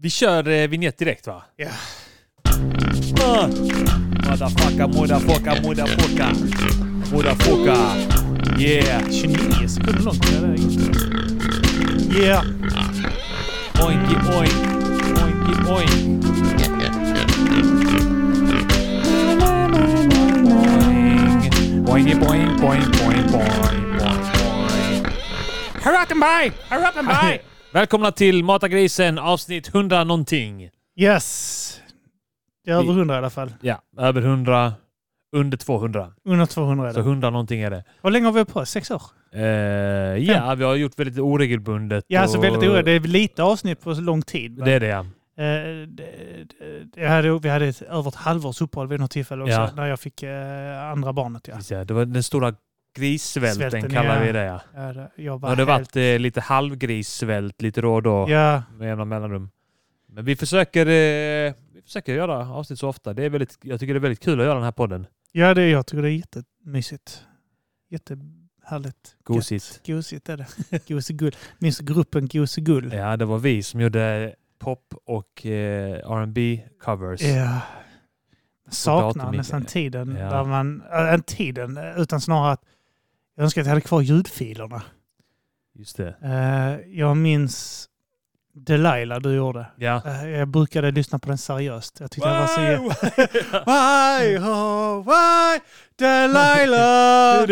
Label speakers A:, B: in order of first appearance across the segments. A: Vi kör eh, vignett direkt va?
B: Ja.
A: Ah. Motherfucka, motherfucka, motherfucka. Motherfucka. Yeah.
B: 29 sekunder långt det där Yeah.
A: Oinki oink. Oinki oink. Boing, boing, boing, boing, boing, boing, boing. Hurra up and by! Hurra up and by! Välkomna till Mata grisen avsnitt 100 någonting.
B: Yes. Det är över 100 i alla fall.
A: Ja, över 100. Under 200.
B: Under 200 är
A: Så
B: det.
A: 100 någonting är det.
B: Hur länge har vi hållit på? Sex år?
A: Eh, ja, vi har gjort väldigt oregelbundet.
B: Ja, alltså
A: och-
B: väldigt oroligt. Det är lite avsnitt på så lång tid. va?
A: Det är det ja.
B: Eh, det- det- det hade, vi hade ett, över ett halvårs uppehåll vid något tillfälle också,
A: Ja.
B: när jag fick eh, andra barnet. Ja.
A: Precis, ja. Det var den stora grissvälten
B: Svälten,
A: kallar
B: ja.
A: vi det ja.
B: Ja, det- Jag
A: Det
B: var
A: har det
B: helt,
A: varit eh, lite halvgrissvält lite då och då
B: ja,
A: med jämna mellanrum. Men vi försöker, eh, vi försöker göra avsnitt så ofta. Det är väldigt, jag tycker det är väldigt kul att göra den här podden.
B: ja det, jag tycker det är jättemysigt. Jättehärligt.
A: Gosigt.
B: Gött. Gosigt är det. Gosegull. Minns du gruppen Gosegull?
A: Ja, det var vi som gjorde pop och eh, R&B covers.
B: Ja. Saknar
A: datorn-
B: nästan tiden.
A: Ja.
B: Där man, äh, inte tiden, eh, utan snarare att jag önskar att jag hade kvar ljudfilerna.
A: Just det.
B: Eh, jag minns Delilah du gjorde.
A: Ja.
B: Eh, jag brukade lyssna på den seriöst. Jag tyckte det var så... jä-
A: Why, oh, why, Delilah?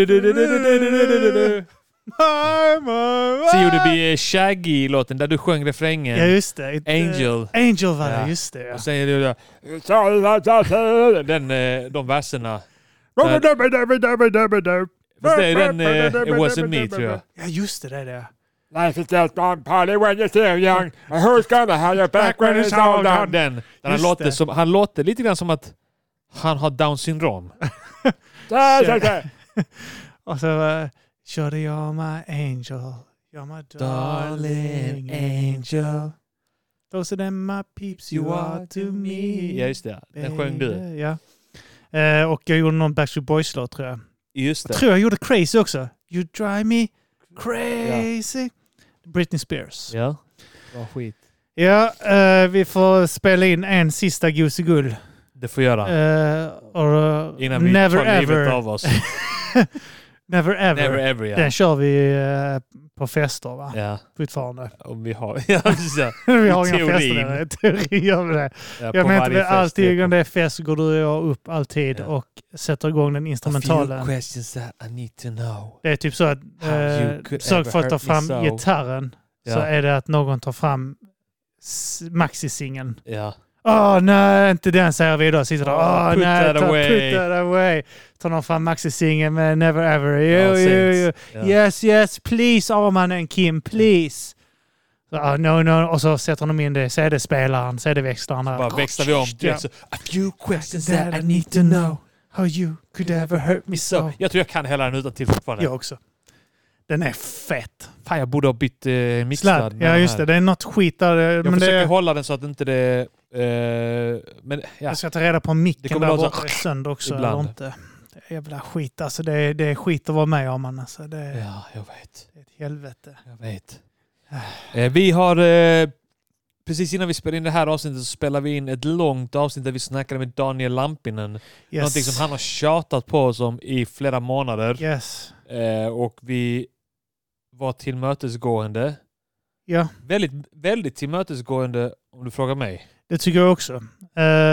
A: Så gjorde vi eh, Shaggy-låten där du sjöng refrängen.
B: Ja, just det. Eh,
A: Angel.
B: Angel var det,
A: Ja.
B: just det. Ja.
A: Och sen är det ju där- den, eh, de verserna. Fast det är den eh, It wasn't me tror jag.
B: ja, just det. det, är det.
A: Life is just one party when you're still young. And who's gonna have your back when it's all done? Den. Där han,
B: Just
A: låter
B: det.
A: som, han låter lite grann som att han har down syndrom.
B: Och så eh, var Shorty you're my angel, you're my darling angel. Those are them my peeps you are to me.
A: Ja just det, den sjöng du.
B: baby. Ja. Eh, och jag gjorde någon Backstreet Boys-låt tror jag.
A: Just
B: Jag
A: det.
B: tror jag gjorde Crazy också. You drive me crazy. Britney Spears. Ja,
A: Ja. Bra skit.
B: eh, vi får spela in en sista Gosegull.
A: Det får göra.
B: Eh, och, eh,
A: Innan vi
B: never,
A: tar livet
B: ever,
A: av oss.
B: never ever.
A: Never ever ja.
B: Den kör vi eh, på fester va?
A: ja.
B: Fortfarande.
A: Om vi har... Ja, precis, ja.
B: Vi
A: I
B: har inga fester
A: teorin.
B: där. I teorin gör vi det.
A: Ja, på
B: Jag menar
A: varje
B: inte
A: fest,
B: alltid
A: ja.
B: om det är fest så går du och jag upp alltid
A: Ja.
B: och sätter igång den
A: A
B: instrumentalen.
A: few questions that I need to know.
B: Det är typ så att
A: How you
B: eh,
A: could
B: sök
A: ever
B: för att ta
A: hurt me
B: fram
A: so.
B: gitarren så
A: Ja,
B: är det att någon tar fram s- maxisingen.
A: ja.
B: Åh nej, inte den säger vi då. Sitter där.
A: Åh,
B: Åh
A: Ah, put
B: nej,
A: that
B: ta,
A: away.
B: put that away. Tar någon fram maxisingen med Never Ever. Jo,
A: Ja,
B: jo,
A: Saints.
B: jo.
A: Ja.
B: Yes, yes, please Arman and Kim, please. Så, ah, no, no. Och så sätter de in det i CD-spelaren, CD-växlaren. där.
A: Bara växlar vi om.
B: Ja.
A: direkt Så, a few questions
B: That I need to know how you could ever hurt me so.
A: Så, jag tror jag kan hela den utantill fortfarande.
B: Jag också. Den är fet.
A: Fan, jag borde ha bytt eh, mixlad.
B: Sladd.
A: med
B: Ja,
A: den
B: just
A: här.
B: det. Det är något skit där. eh,
A: Jag
B: men
A: försöker
B: det,
A: hålla den så att inte det... Eh, men ja,
B: jag ska ta reda på om
A: Det
B: micken
A: kommer
B: där
A: låta
B: borta är sönder också.
A: ibland.
B: Eller inte. Det är jävla skit. Alltså, det, är, det är skit att vara med om. man, Alltså. Det, är,
A: ja, jag vet.
B: det är ett helvete.
A: Jag vet. Eh, vi har... Eh, precis innan vi spelade in det här avsnittet så spelade vi in ett långt avsnitt där vi snackade med Daniel Lampinen.
B: Yes.
A: Någonting som han har tjatat på oss om i flera månader.
B: Yes.
A: Eh, och vi var tillmötesgående.
B: Ja,
A: Väldigt, väldigt tillmötesgående om du frågar mig.
B: det tycker jag också. Eh,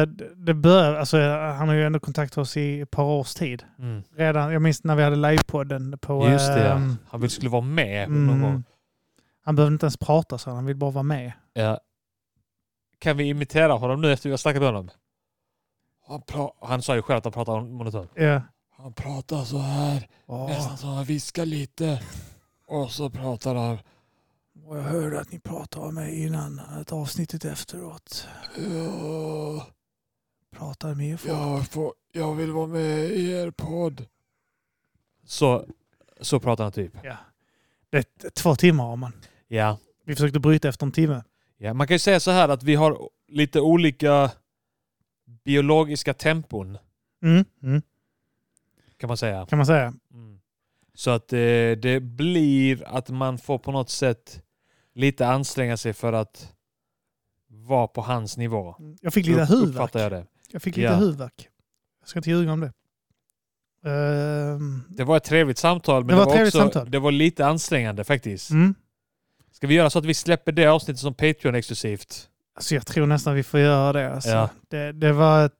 B: det- det bör, alltså, han har ju ändå kontaktat oss i ett par års tid.
A: Mm.
B: Redan, jag minns när vi hade livepodden på...
A: Just det, ja.
B: ehm,
A: Han vill skulle vara med någon
B: Mm.
A: gång.
B: Han behöver inte ens prata så han vill bara vara med.
A: Ja. Kan vi imitera honom nu efter vi har snackat med honom? Han, pra- han sa ju själv att han pratar om monotont.
B: Ja.
A: Han pratar så här,
B: Åh,
A: så han viskar lite. Och så pratar han...
B: jag hörde att ni pratade om mig innan ett avsnittet efteråt.
C: Ja,
B: Pratade med folk.
C: jag, får, jag vill vara med i er podd.
A: Så, så pratar han typ.
B: Ja. Det är t- två timmar har man.
A: Ja.
B: Vi försökte bryta efter en timme.
A: ja. Man kan ju säga så här att vi har lite olika biologiska tempon.
B: Mm. Mm.
A: Kan man säga. Mm.
B: Kan man säga.
A: Så att eh, det blir att man får på något sätt lite anstränga sig för att var på hans nivå.
B: Jag fick lite
A: Upp-
B: huvudvärk.
A: Uppfattar jag det.
B: Jag fick lite
A: Ja.
B: huvudvärk. Jag ska inte ljuga om det. Ehm,
A: Det var ett trevligt samtal, men
B: Det
A: det
B: var
A: var,
B: ett trevligt
A: också,
B: samtal.
A: det var lite ansträngande faktiskt.
B: mm.
A: Ska vi göra så att vi släpper det avsnittet som Patreon-exklusivt?
B: alltså jag tror nästan vi får göra det. Alltså.
A: Ja.
B: Det, det var ett...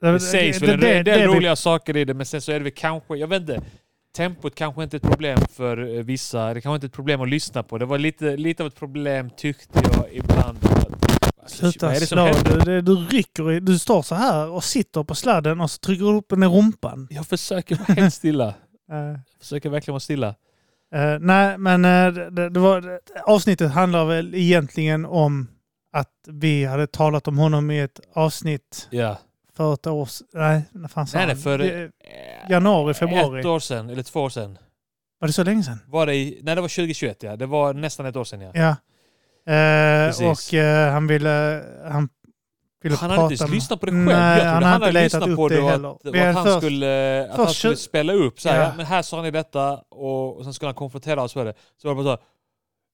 A: Det sägs väl en del- del roliga saker i det, men sen så är det väl kanske, jag vet inte, tempot kanske inte är ett problem för eh, vissa. Det kanske inte är ett problem att lyssna på. Det var lite, lite av ett problem tyckte jag ibland. Att-
B: Sluta
A: Vad är det som
B: slå.
A: händer?
B: Du, du, du rycker. i- Du står så här och sitter på sladden och så trycker du upp den i rumpan.
A: Jag försöker vara helt stilla.
B: Eh,
A: Jag försöker verkligen vara stilla.
B: eh, nej, men eh, det- det, det var, det- avsnittet handlar väl egentligen om att vi hade talat om honom i ett avsnitt
A: Ja.
B: för ett år s- Nej, när fan sa
A: Nej,
B: han?
A: nej, för-
B: Det- Januari, februari.
A: Eh, Ett år sedan, eller två år sedan.
B: Var det så länge sedan?
A: Var det i, nej, det var 2021 ja. Det var nästan ett år sedan ja.
B: Ja. Eh,
A: Precis.
B: och eh, han ville... Han, ville
A: Han
B: prata
A: hade inte ens
B: med-
A: lyssnat på det
B: Nej,
A: själv. jag trodde han,
B: han har inte
A: hade
B: letat
A: lyssnat
B: upp
A: på
B: det
A: det och
B: heller.
A: att,
B: Vi
A: och att,
B: hade
A: han,
B: först-
A: skulle, att han
B: först-
A: skulle spela upp så här,
B: Ja.
A: ja. men här sa ni detta och, och sen skulle han konfrontera oss med det. Så var det bara så här,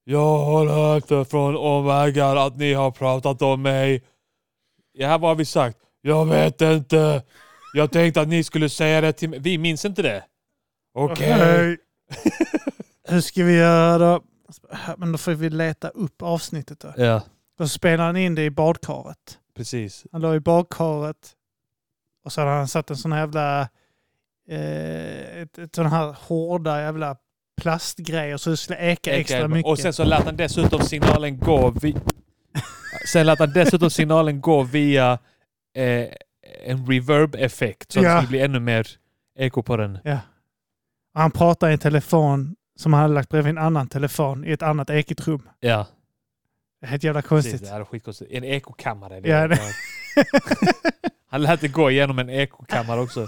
A: jag har hört det från Omegar att ni har pratat om mig. Ja, här har vi sagt, jag vet inte. Jag tänkte att ni skulle säga det till mig. Vi minns inte det. Okej.
B: Okej. Hur ska vi göra då? Men då får vi leta upp avsnittet då.
A: Ja,
B: Då spelar han in det i badkaret.
A: precis.
B: Han låg i badkaret och så hade han satt en sån här jävla... Eh, ett, ett sån här hårda jävla plastgrej och så det skulle eka extra mycket.
A: Och sen så lät han dessutom signalen gå vi... Sen lät han dessutom signalen gå via eh, en reverb-effekt så att
B: Ja.
A: det skulle bli ännu mer eko på den.
B: Och han pratade i en telefon som han hade lagt bredvid en annan telefon i ett annat ekigt rum.
A: Ja,
B: Det är helt jävla
A: precis.
B: konstigt.
A: Det här är skitkonstigt. En ekokammare. Det
B: Ja,
A: är
B: det-
A: Han lät det gå igenom en ekokammare också.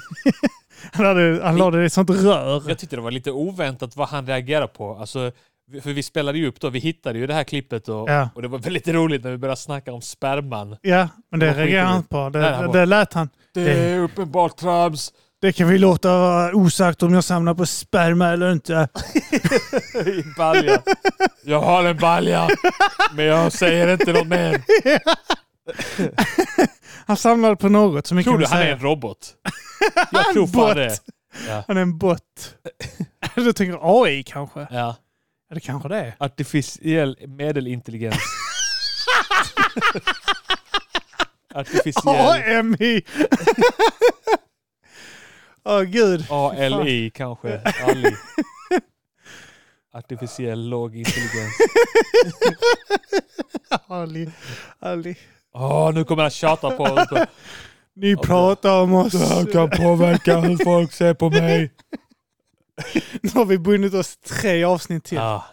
B: Han, hade, han la det i ett sånt rör.
A: Jag tyckte det var lite oväntat vad han reagerade på. Alltså, vi- för vi spelade ju upp då, vi hittade ju det här klippet och,
B: Ja.
A: och det var väldigt roligt när vi började snacka om sperman.
B: Ja, men det
A: Det var
B: reagerade han
A: skitdåligt.
B: på. Det,
A: Nej, han
B: det,
A: var-
B: det lät han.
C: Det är uppenbart trams.
B: Det kan vi låta vara osagt om jag samlar på sperma eller inte.
A: I balja. Jag har en balja, men jag säger inte något mer.
B: Han samlade på något, så mycket
A: Tror
B: kan
A: du
B: vi
A: han är
B: säga.
A: en robot? Jag tror fan
B: Bot.
A: det. Ja.
B: Han är en bot. du tänker AI kanske?
A: Ja.
B: Ja, det kanske det är.
A: Artificiell medelintelligens. Artificiell.
B: AMI! Åh gud.
A: ALI kanske. Ali. Artificiell låg intelligens.
B: Ali. Ali.
A: Åh, nu kommer han tjata på oss.
B: Ni pratar om oss.
A: kan påverka hur folk ser på mig.
B: Nu har vi bundit oss tre avsnitt till.
A: Ja.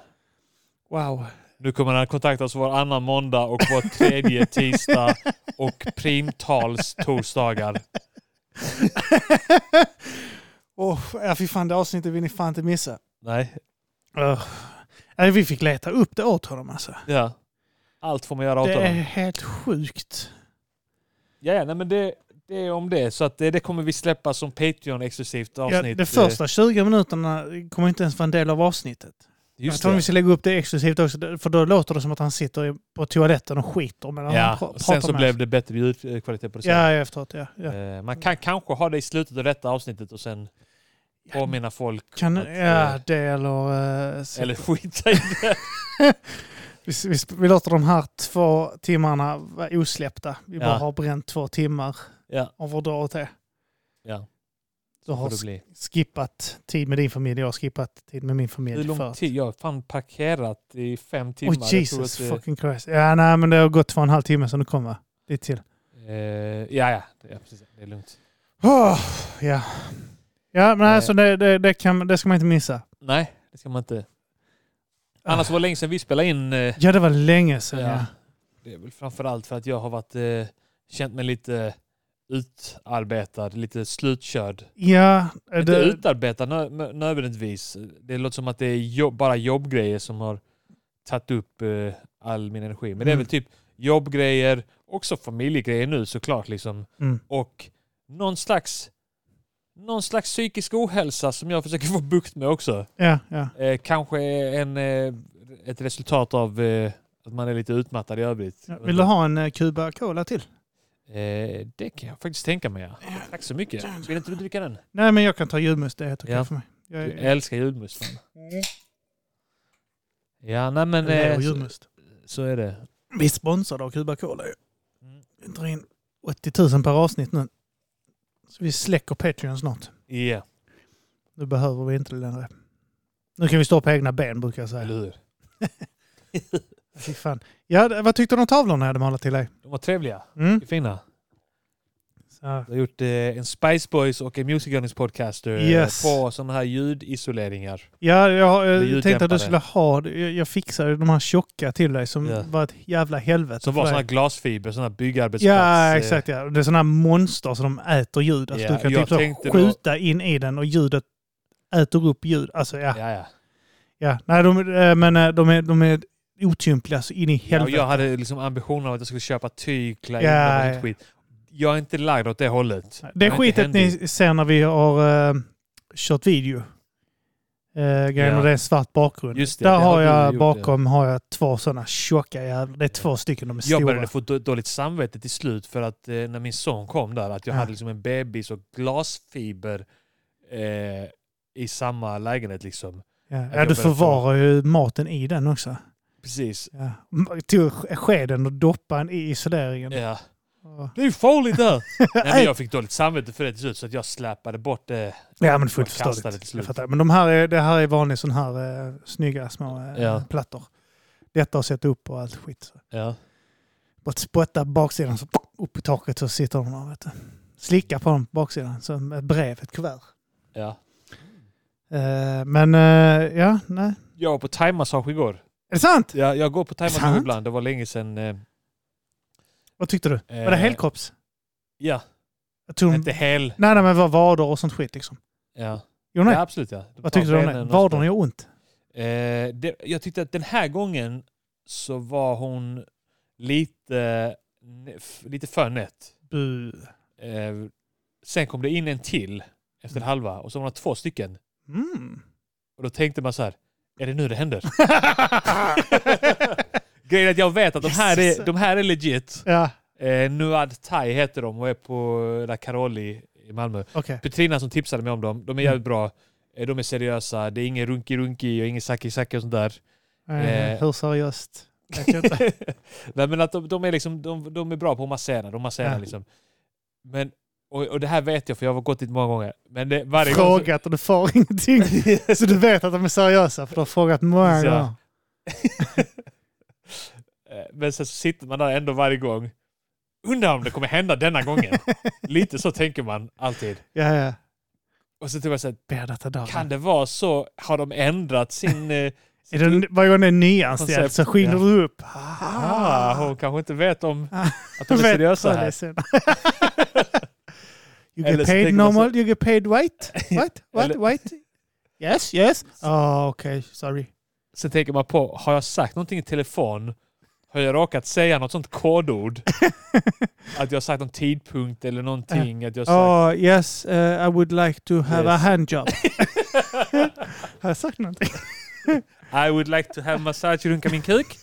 B: Wow.
A: Ah. Nu kommer han kontakta oss varannan måndag och var tredje tisdag och primtals torsdagar.
B: Åh, ja, fy fan, det avsnittet vill ni fan inte missa.
A: Nej,
B: Uh. Vi fick leta upp det åt honom alltså.
A: ja. Allt får man göra åt
B: Det är
A: honom.
B: helt sjukt.
A: Ja, ja, nej, men det, det är om det. Så att det, det kommer vi släppa som Patreon-exklusivt
B: Ja,
A: avsnitt.
B: de första 20 minuterna kommer inte ens vara en del av avsnittet.
A: Eh, Just
B: jag tror vi
A: det.
B: ska lägga upp det exklusivt också, för då låter det som att han sitter i- på toaletten och skiter medan han
A: Ja,
B: pra-
A: och sen
B: pratar
A: så
B: med
A: blev
B: oss.
A: det bättre ljudkvalitet på det
B: Ja, ja, efteråt. Ja, ja.
A: Eh, Man kan kanske ha det i slutet av detta avsnittet och sen påminna folk.
B: Kan,
A: att,
B: ja
A: eh,
B: det eller... eh, så-
A: Eller skita i det.
B: vi, vi, vi låter de här två timmarna vara osläppta. Vi bara
A: Ja.
B: har bränt två timmar
A: Ja,
B: av vår dag åt det.
A: ja.
B: Du har
A: Får det bli.
B: sk- skippat tid med din familj, jag har skippat tid med min familj.
A: Hur
B: för
A: lång
B: att-
A: tid? Jag har fan parkerat i fem timmar. Jag
B: Oh,
A: tror
B: Jesus
A: att det-
B: fucking Christ. Ja, nej, men det har gått två och en halv timme sedan du kom, va? Lite till.
A: Eh, ja, ja. Det, ja precis. det är lugnt.
B: Oh, ja. ja, men
A: Eh.
B: alltså det, det, det, kan, det ska man inte missa.
A: Nej, det ska man inte.
B: Ah.
A: Annars var det länge sedan vi spelade in. Eh,
B: Ja, det var länge sedan. Ja.
A: ja. Det är väl framförallt för att jag har varit, eh, känt mig lite utarbetad, lite slutkörd.
B: Ja, eh,
A: Inte
B: det,
A: utarbetad nö- nö- nödvändigtvis. Det låter som att det är jobb, bara jobbgrejer som har tagit upp eh, all min energi. Men det är
B: Mm.
A: väl typ jobbgrejer, också familjegrejer nu såklart. Liksom.
B: mm.
A: och någon slags, någon slags psykisk ohälsa som jag försöker få bukt med också.
B: ja, ja.
A: Eh, kanske en, eh, ett resultat av eh, Att man är lite utmattad i övrigt.
B: Ja, Vill du ha en eh, Cuba Cola till?
A: Eh, det kan jag faktiskt tänka mig. ja. Tack så mycket. Vill inte du dricka den?
B: Nej, men jag kan ta julmust. Det är helt okej
A: Ja.
B: för mig. Jag
A: Du eh,
B: är,
A: älskar julmust. fan.
B: Mm.
A: Ja, nej men
B: jag gillar
A: eh, så,
B: julmust.
A: så är det.
B: Vi är sponsrade av Cuba Cola ju.
A: Mm.
B: Vi drar in 80 000 per avsnitt nu. Så vi släcker Patreon snart.
A: Ja,
B: Nu behöver vi inte det längre. Nu kan vi stå på egna ben brukar jag
A: eller
B: säga.
A: hur?
B: Fy fan. Ja, det- vad tyckte du om tavlorna jag hade målat till dig?
A: De var trevliga.
B: Mm.
A: De är fina.
B: Så,
A: Du har gjort eh, en Spice Boys och en Music Earnings Podcaster eh,
B: Yes.
A: på sådana här ljudisoleringar.
B: ja, jag
A: Eller
B: eh, tänkte att du
A: ljuddämpare.
B: skulle ha det. Jag, jag fixade de här tjocka till dig som
A: Ja.
B: var ett jävla helvete.
A: Som
B: för
A: var
B: dig.
A: sådana här glasfiber, sådana här byggarbetsplats.
B: Ja,
A: eh,
B: exakt. Ja. Det är sådana här monster som de äter ljud. Alltså,
A: Ja,
B: du kan
A: jag
B: typ så
A: tänkte
B: skjuta in i den och ljudet äter upp ljud. Alltså, ja.
A: Ja, ja.
B: Ja, nej, de, eh, men eh, de är, de är otympliga så in i
A: ja och
B: helvete.
A: jag hade liksom ambitionen av att jag skulle köpa tyg, klä in
B: Ja,
A: mig och
B: ja.
A: lite skit. Jag är inte lagd åt det hållet.
B: det är
A: Jag inte
B: skitet
A: händig.
B: ni ser när vi har eh, kört video. Uh, grejen
A: Ja.
B: och det är en svart bakgrund.
A: Just det,
B: Där
A: det har
B: har
A: du
B: jag
A: gjort,
B: bakom har jag två sådana tjocka jävlar. Det är två stycken, de är
A: Jag
B: stora.
A: började få då- dåligt samvete till slut för att eh, när min son kom där, att jag
B: Ja.
A: hade liksom en bebis och glasfiber eh, i samma lägenhet liksom.
B: Ja, ja,
A: jag
B: du
A: började få-
B: förvarar ju maten i den också.
A: Precis.
B: Ja. Jag Tog sk- skeden och doppade den i isoleringen.
A: Ja.
B: Och-
A: Det är ju farligt där! Nej, men jag fick dåligt samvete för det till slut så att jag släpade bort det.
B: Ja, men fullt
A: Och kastade
B: förståeligt.
A: till slut.
B: Jag fattar. Men de här är, det här är vanliga sådana här eh, snygga små eh,
A: Ja.
B: plattor. Detta att sätta upp och allt skit.
A: Ja.
B: Bara att spotta på baksidan så upp i taket så sitter de där. Vet du. Slicka på dem på baksidan som ett brev, ett kuvert.
A: Ja.
B: Eh, men eh, ja, nej.
A: Jag var på thaimassage igår.
B: Är det sant?
A: Jag, jag går på
B: Sant?
A: thaimassage ibland, det var länge sedan. Eh,
B: Vad tyckte du? Var
A: eh,
B: det helkropps?
A: Ja,
B: Jag tog
A: inte hel.
B: Nej, nej, men var vader och sånt skit liksom.
A: Ja,
B: Jo, nej.
A: ja absolut ja.
B: Vad tyckte du om det? Vaderna gör ont.
A: Eh, det, jag tyckte att den här gången så var hon lite, f- lite för nätt.
B: Bu.
A: Eh, sen kom det in en till efter
B: Mm.
A: halva och så var det två stycken.
B: Mm.
A: Och då tänkte man så här, är det nu det händer? Grejen är att jag vet att de här är, de här är legit.
B: ja,
A: Eh, Nuad Thai heter de och är på La Caroli i Malmö.
B: okej.
A: Petrina som tipsade mig om dem, de är jävligt bra. Eh, De är seriösa, det är ingen runki-runki och ingen saki-saki och sånt där.
B: Eh,
A: Eh.
B: hur seriöst? Vet jag inte.
A: Nej men att de, de, är liksom, de, de är bra på att massera, de masserar
B: Ja.
A: liksom. Men, och, och det här vet jag för jag har gått dit många gånger. Men det, varje gång...
B: frågat och du får ingenting. Så du vet att de är seriösa för du har frågat många
A: Så.
B: gånger.
A: Så, eh, men sen så sitter man där ändå varje gång. Undrar om det kommer hända denna gången. Lite så tänker man alltid.
B: Ja, ja.
A: Och så tror jag så här,
B: Ber detta dagen.
A: kan det vara så? Har de ändrat sin... Eh,
B: Är det, varje gång det är en nyanställd
A: Koncept,
B: så skiner
A: ja.
B: du upp.
A: ah, hon kanske inte vet om
B: Ah.
A: att de är
B: Vet
A: seriösa
B: vad det
A: här.
B: sen. you
A: Eller
B: get
A: så tänker
B: paid
A: man så-
B: normal, you get paid white. What? What?
A: Eller-
B: White? Yes, yes. Ah, okej. Sorry.
A: Sen tänker man på, har jag sagt någonting i telefon? Har jag råkat säga något sånt kodord? att jag har sagt någon tidpunkt eller någonting? Att jag har sagt...
B: Ah, yes, eh, I would like to have
A: Yes.
B: a handjob. Har jag sagt någonting?
A: I would like to have massage runka min kuk.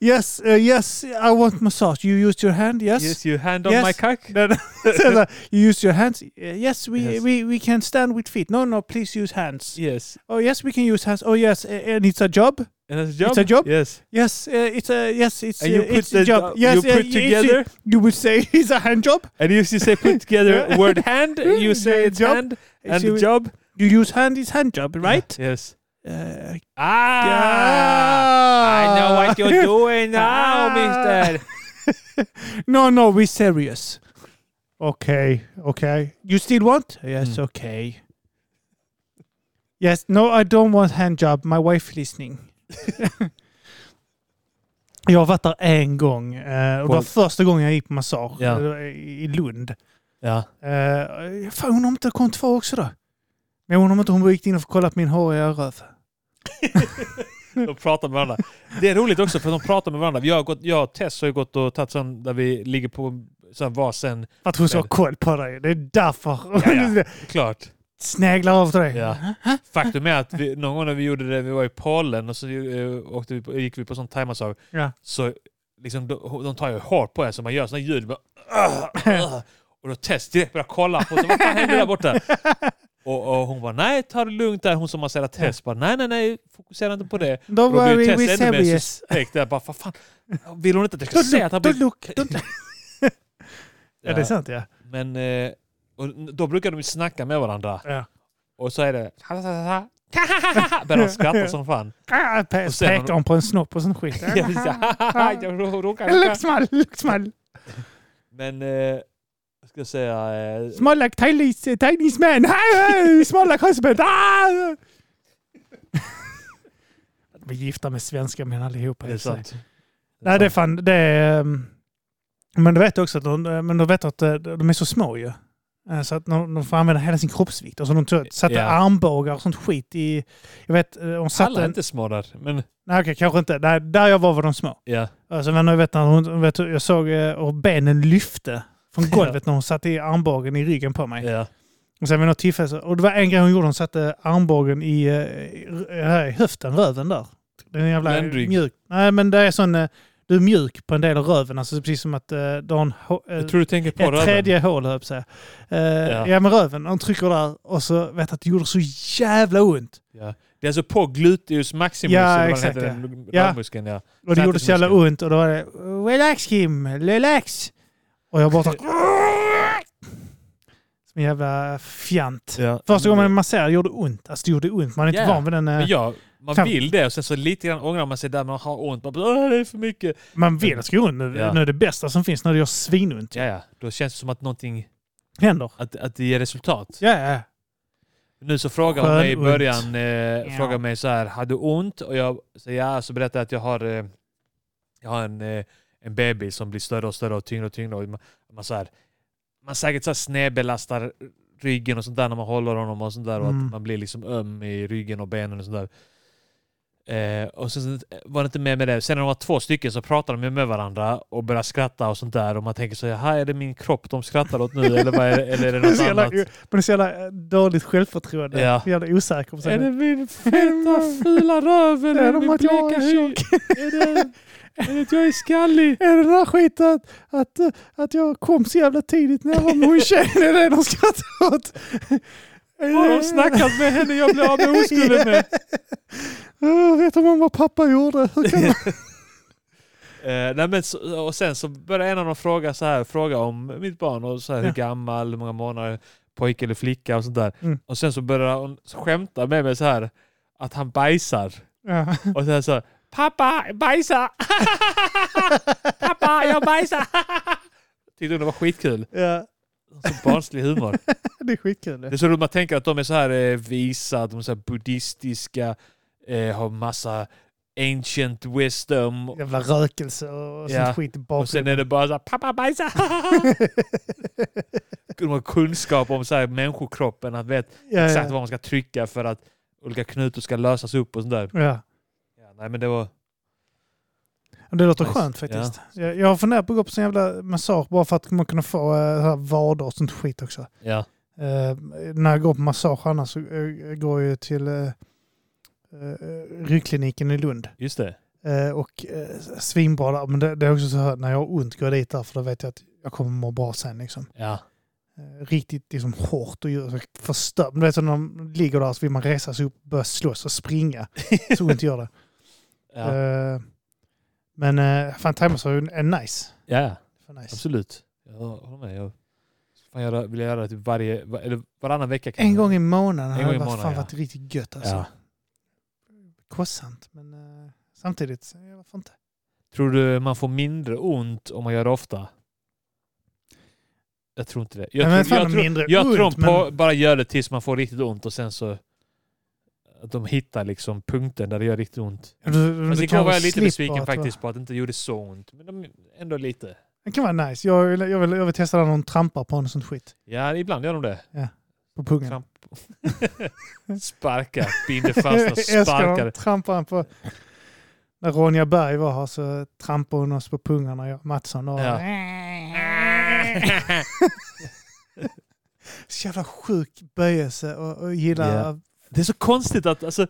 B: Yes, eh, yes, I want massage. You used your hand, yes?
A: Yes, you hand on
B: Yes.
A: my cock.
B: No, no. So, like, you use your hands. Uh, Yes, we,
A: Yes.
B: we we can stand with feet. No, no, please use hands.
A: Yes.
B: Oh yes, we can use hands. Oh yes, uh, and it's a job.
A: And that's a job?
B: It's a job?
A: Yes.
B: Yes, uh, it's a yes, it's
A: And you
B: uh,
A: put
B: it's a
A: the-
B: job.
A: you
B: yes,
A: put
B: uh, it's-
A: together?
B: it- You would say it's a hand job.
A: And if you say put together word hand, you say it's
B: Job.
A: hand
B: It's
A: and
B: you,
A: job.
B: you use hand, it's hand job, right?
A: Yes.
B: Uh,
A: Ah! I know what you're doing now,
B: Ah.
A: mister.
B: no, no, we're serious. Okay, okay. You still want? Yes,
A: Mm.
B: okay. Yes, no, I don't want hand job. My wife listening. jag har varit där en gång. eh, Och det var
A: På-
B: första gången jag gick på massage
A: Ja.
B: eh, i Lund.
A: Ja.
B: Uh, fan, undrar om det kom två också då. Men jag undrar om inte hon gick in och kollade på min håriga röv.
A: De pratar med varandra. Det är roligt också för de pratar med varandra. Jag, har gått, jag och Tess har ju gått och tagit sån där vi ligger på sån varsin.
B: För att hon ska
A: Men-
B: ha koll på dig. Det är därför.
A: Ja, ja. Klart.
B: Snäglar av dig.
A: Ja. Faktum är att vi, någon gång när vi gjorde det, vi var i Polen och så eh, åkte vi på, gick vi på sån timeout
B: Ja.
A: så liksom, de, de tar ju hårt på en så man gör såna ljud. Bara, "Ah, ah." och då Tess direkt börjar kolla på så, vad fan händer där borta? Och, och hon bara nej, ta det lugnt där. Hon som har sett Tess bara nej, nej, nej, fokusera inte på det.
B: Don't
A: Och då blir
B: worry,
A: Tess
B: we're
A: ännu mer
B: serious.
A: suspekt. Jag bara, "Vad fan, vill hon inte att jag ska
B: Don't
A: säga
B: look,
A: att han
B: don't
A: blir...
B: look. Don't... Ja, det är sant ja.
A: Men eh, och då brukar de ju snacka med varandra.
B: ja.
A: Och så är det... Börjar de skratta som fan.
B: Ah, pe-
A: Och sen har
B: Pekar hon på en snopp och sån skit.
A: Jag blir så här, jag ro- råkar-
B: Look small, look small.
A: Men... Eh, vad ska jag säga... Eh,
B: Small like tiny, tiny man. Small like husband. Ah! De är gifta med svenska män allihopa.
A: det är sant.
B: Nej, det är fan... Det är, ehm, men du vet också att de, men du vet att eh, de är så små ju. Eh, Så att de de får använda hela sin kroppsvikt. Alltså de tog- satte
A: Ja.
B: armbågar och sånt skit i... Jag vet, eh, de satte...
A: Alla är
B: en,
A: inte små där. Men
B: nej, okej, kanske inte. Nej, där jag var var de små.
A: ja.
B: Alltså, men jag, vet när hon, vet, jag såg eh, hur benen lyfte från
A: Ja.
B: golvet när hon satte i armbågen i ryggen på mig.
A: ja.
B: Och sen vid något tillfälle, så- och det var en grej hon gjorde, hon satte armbågen i, eh, i, här i höften, röven där. Den är jävla
A: Ländrygg.
B: mjuk. Nej men det är sån, eh, du är mjuk på en del av röven, alltså precis som att eh, du har en hå- eh,
A: Jag tror du tänker på
B: ett
A: röven.
B: tredje hål höll jag på att säga. Eh,
A: Ja.
B: ja. men röven, hon trycker där och så vet jag att det gjorde så jävla ont.
A: Ja. Det är alltså på gluteus maximus.
B: Ja,
A: eller vad den
B: exakt,
A: heter,
B: ja.
A: den
B: Ja.
A: rövmuskeln, ja.
B: Och det
A: Satte
B: gjorde så jävla
A: muskeln.
B: ont och då var det relax Kim, relax! Och jag bara så- som en jävla fjant.
A: ja.
B: Första
A: Men
B: gången
A: det-
B: man masserade gjorde det ont. Alltså det gjorde ont. Man är inte
A: Ja.
B: van vid den. eh,
A: Men ja, man
B: Fem-
A: vill det och sen så lite grann ångrar man sig där man har ont. Man bara, "Åh, det är för mycket.
B: Man vill ska runt nu.
A: Ja.
B: Nu är det bästa som finns när det gör svinont.
A: Ja, ja. Då känns det som att någonting,
B: Händer.
A: att, att det ger resultat.
B: Ja, ja.
A: Nu så frågar hon mig i
B: Skönont.
A: början, eh, frågar mig så här, har du ont? Och jag säger ja, så berättar jag att jag har, eh, jag har en, eh, en bebis som blir större och större och tyngre och tyngre. Och man, man, så här, man säkert så här snedbelastar ryggen och sånt där när man håller honom och sånt där. Och
B: Mm.
A: att man blir liksom öm i ryggen och benen och sånt där. Eh, och sen var det inte mer med det. Sen när de var två stycken så pratade de med varandra och började skratta och sånt där. Och man tänker så här, "Jaha, är det min kropp de skrattar åt nu? eller, vad är det, eller är det
B: Men
A: något
B: så jävla,
A: annat?
B: men det är så jävla eh, dåligt självförtroende.
A: Ja.
B: Så jävla osäker på sig.
A: Är det min feta fula röv eller
B: Är
A: är
B: det
A: det
B: om
A: min
B: att jag
A: bleka
B: är
A: hy? Är det, är det att jag är skallig?
B: Är det den där skiten att, att, eh, att jag kom så jävla tidigt när jag var med hon tjejen? Är det de skrattar åt?
A: Har de snackat med henne jag blev av med oskulden med?
B: Oh, vet de om vad pappa gjorde? Hur kan man-
A: Eh, nej men, så- och sen så började en av dem fråga, så här, fråga om mitt barn och så här,
B: Ja.
A: hur gammal, hur många månader, pojke eller flicka och sånt där.
B: Mm.
A: Och sen så började hon skämta med mig så här att han bajsar.
B: ja.
A: Och sen så här, pappa bajsa! pappa jag bajsar! Tyckte hon det var skitkul.
B: ja,
A: Så barnslig humor.
B: det är skitkul.
A: Det är så roligt, man tänker att de är så här eh, visa, att de är så här buddhistiska, eh, har massa ancient wisdom.
B: Jävla rökelse och sånt
A: Ja.
B: skit i
A: Och sen
B: bakgrunden.
A: är det bara så här, pappa bajsa! de har kunskap om så här människokroppen, att vet
B: ja,
A: exakt
B: ja.
A: vad man ska trycka för att olika knutor ska lösas upp och sånt där.
B: Ja.
A: Ja, nej men det var...
B: Det låter
A: Nice.
B: skönt faktiskt. Jag, jag har funderat på att gå på sån jävla massage bara för att man kunna få eh, här vader och sånt skit också.
A: Ja.
B: Eh, när jag går på massage annars så eh, går jag ju till eh, eh, ryggkliniken i Lund.
A: Just det.
B: Eh, och eh, svinbra där. Men det, det är också så här, när jag har ont går jag dit där för då vet jag att jag kommer må bra sen liksom.
A: Ja.
B: Eh, riktigt liksom hårt och djur- förstör. Men du vet så när de ligger där så vill man resa sig upp, börja slåss och springa. Så ont gör det.
A: Ja,
B: Eh, men eh, fan timers är nice.
A: ja
B: Fan, nice.
A: absolut. Jag håller med. Jag fan, jag vill göra det typ varje, var, eller varannan vecka. kan
B: En
A: jag-
B: gång i månaden
A: gång
B: hade
A: i
B: varit,
A: månaden,
B: fan
A: ja.
B: varit riktigt gött alltså.
A: Ja.
B: Kostsamt, men eh, samtidigt, eh, varför inte?
A: Tror du man får mindre ont om man gör det ofta? Jag tror inte det. Jag
B: Nej, men
A: tror,
B: fan,
A: jag tror,
B: mindre
A: jag tror
B: ont,
A: de på, bara gör det tills man får riktigt ont och sen så... Att de hittar liksom punkten där det gör riktigt ont.
B: Du, du,
A: Fast
B: du
A: igår var
B: kanske
A: jag lite
B: slipper
A: besviken
B: att vara-
A: faktiskt på att det inte gjorde så ont. Men de, ändå lite.
B: Det kan vara nice. Jag vill, jag vill, jag vill testa när någon trampar på en sån skit.
A: Ja, ibland gör de det.
B: På pungen.
A: Tramp. Sparka, binder fast och
B: Jag älskar när de
A: sparkar.
B: trampar en på... När Ronja Berg var här så trampade hon oss på pungarna, jag och Mattsson. Och,
A: Ja.
B: Så jävla sjuk böjelse och, och gillar...
A: Ja. Det är så konstigt att alltså,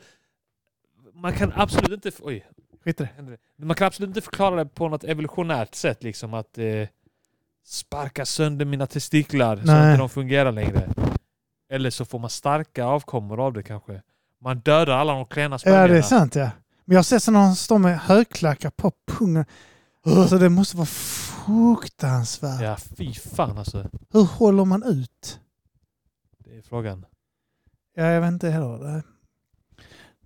A: man kan absolut inte... Oj,
B: Skit i det.
A: händer det? Man kan absolut inte förklara det på något evolutionärt sätt. Liksom att eh, sparka sönder mina testiklar så
B: Nej.
A: att de fungerar längre. Eller så får man starka avkommor av det kanske. Man dödar alla de klena
B: Ja, det är
A: spermierna.
B: sant ja. Men jag har sett sådana som står med högklackar på pungen. Alltså det måste vara fruktansvärt.
A: Ja, fy fan alltså.
B: Hur håller man ut?
A: Det är frågan.
B: Ja, jag vet inte heller. Det.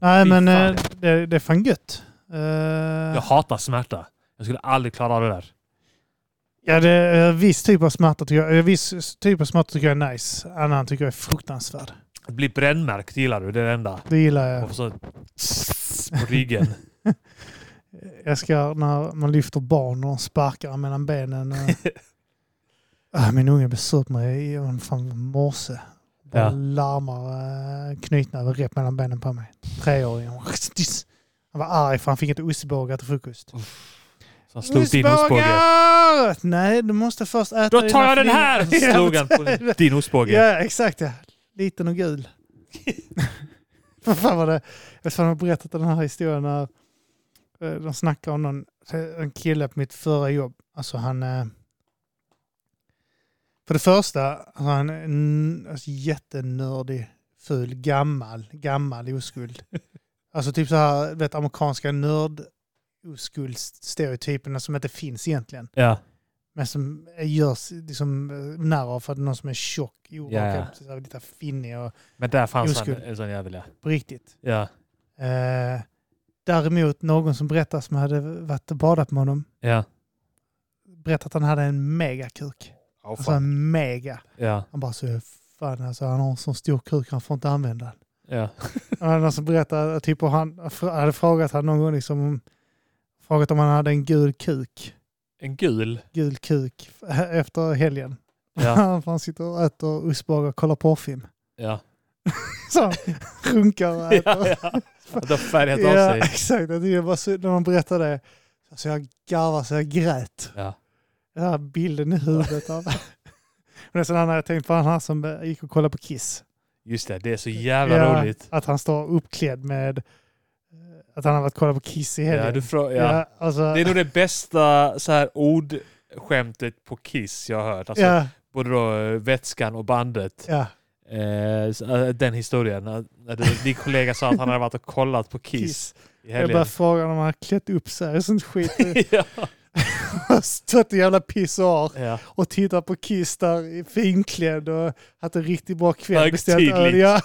B: Nej,
A: Fy
B: men
A: fan.
B: eh, det, det är fan gött. Eh,
A: Jag hatar smärta. Jag skulle aldrig klara av det där.
B: Ja, det är viss typ av smärta tycker jag, eh, viss typ av smärta tycker jag är nice. Annan tycker jag är fruktansvärd.
A: Att bli brännmärkt gillar du, det är det enda.
B: Det gillar jag.
A: Och så på ryggen.
B: Jag ska när man lyfter barn och sparkar mellan benen. eh. Ah, min unge blev sur på mig i fan, morse. Bara
A: Ja.
B: larmar eh, knytnäven mellan benen på mig. Treåringen. Han var arg för han fick inte ostbågar till frukost.
A: Som slog din ostbåge.
B: Ostbågar! Nej, du måste först äta
A: Då
B: dina
A: tar jag den här! Så
B: flingor.
A: slog han på din ostbåge.
B: Ja, exakt ja. Liten och gul. Vad fan var det? Jag tror han har berättat den här historien när eh, de snackar om någon, en kille på mitt förra jobb. Alltså han... eh, För det första, alltså han är en alltså, jättenördig, ful, gammal, gammal oskuld. Alltså typ så här, du vet amerikanska nörd oskuldsstereotyperna som inte finns egentligen.
A: Ja.
B: Men som görs liksom eh, narr av för att någon som är tjock, orakad,
A: Ja.
B: yeah. lite finnig och
A: Men där fanns
B: Oskuld.
A: han, en sån jävel ja.
B: på riktigt.
A: Ja.
B: Eh, däremot någon som berättar som hade varit och badat med honom,
A: Ja.
B: berättar att han hade en megakuk. alltså en mega.
A: Ja.
B: Han bara så fan alltså han har en sån stor kuk han får inte använda den.
A: Ja.
B: Och det var någon som berättade, typ och han fr- hade frågat han någon gång liksom, om- frågat om han hade en gul kuk.
A: En gul.
B: Gul kuk eh, efter helgen.
A: Ja.
B: för han sitter och äter ostbågar och kollar porrfilm.
A: Ja.
B: som runkar och
A: ja,
B: äter.
A: ja. Att det har färgat
B: Ja,
A: av sig.
B: exakt. Jag tyckte Det var så, när man berättade det. Så jag garvade så jag grät.
A: Ja.
B: Den här bilden i huvudet av... Men sen har jag tänkt på han här som eh, gick och kollade på Kiss.
A: Just det, det är så jävla
B: Ja,
A: roligt.
B: Att han står uppklädd med... eh, Att han har varit och kollat på Kiss i helgen.
A: Ja, du frå- ja.
B: alltså,
A: Det är nog det bästa så här ordskämtet på Kiss jag har hört. Alltså,
B: ja,
A: Både då eh, vätskan och bandet.
B: ja.
A: Eh, så, eh, den historien. När, när du- din kollega sa att han hade varit och kollat på Kiss,
B: Kiss.
A: i
B: Jag
A: helgen.
B: bara frågar om han har klätt upp sig och sånt skit.
A: ja.
B: Stått i jävla pissoar.
A: Ja.
B: och tittar på Kiss där i finklädd och haft en riktigt bra kväll.
A: Högtidligt.
B: Beställt öl. Ja.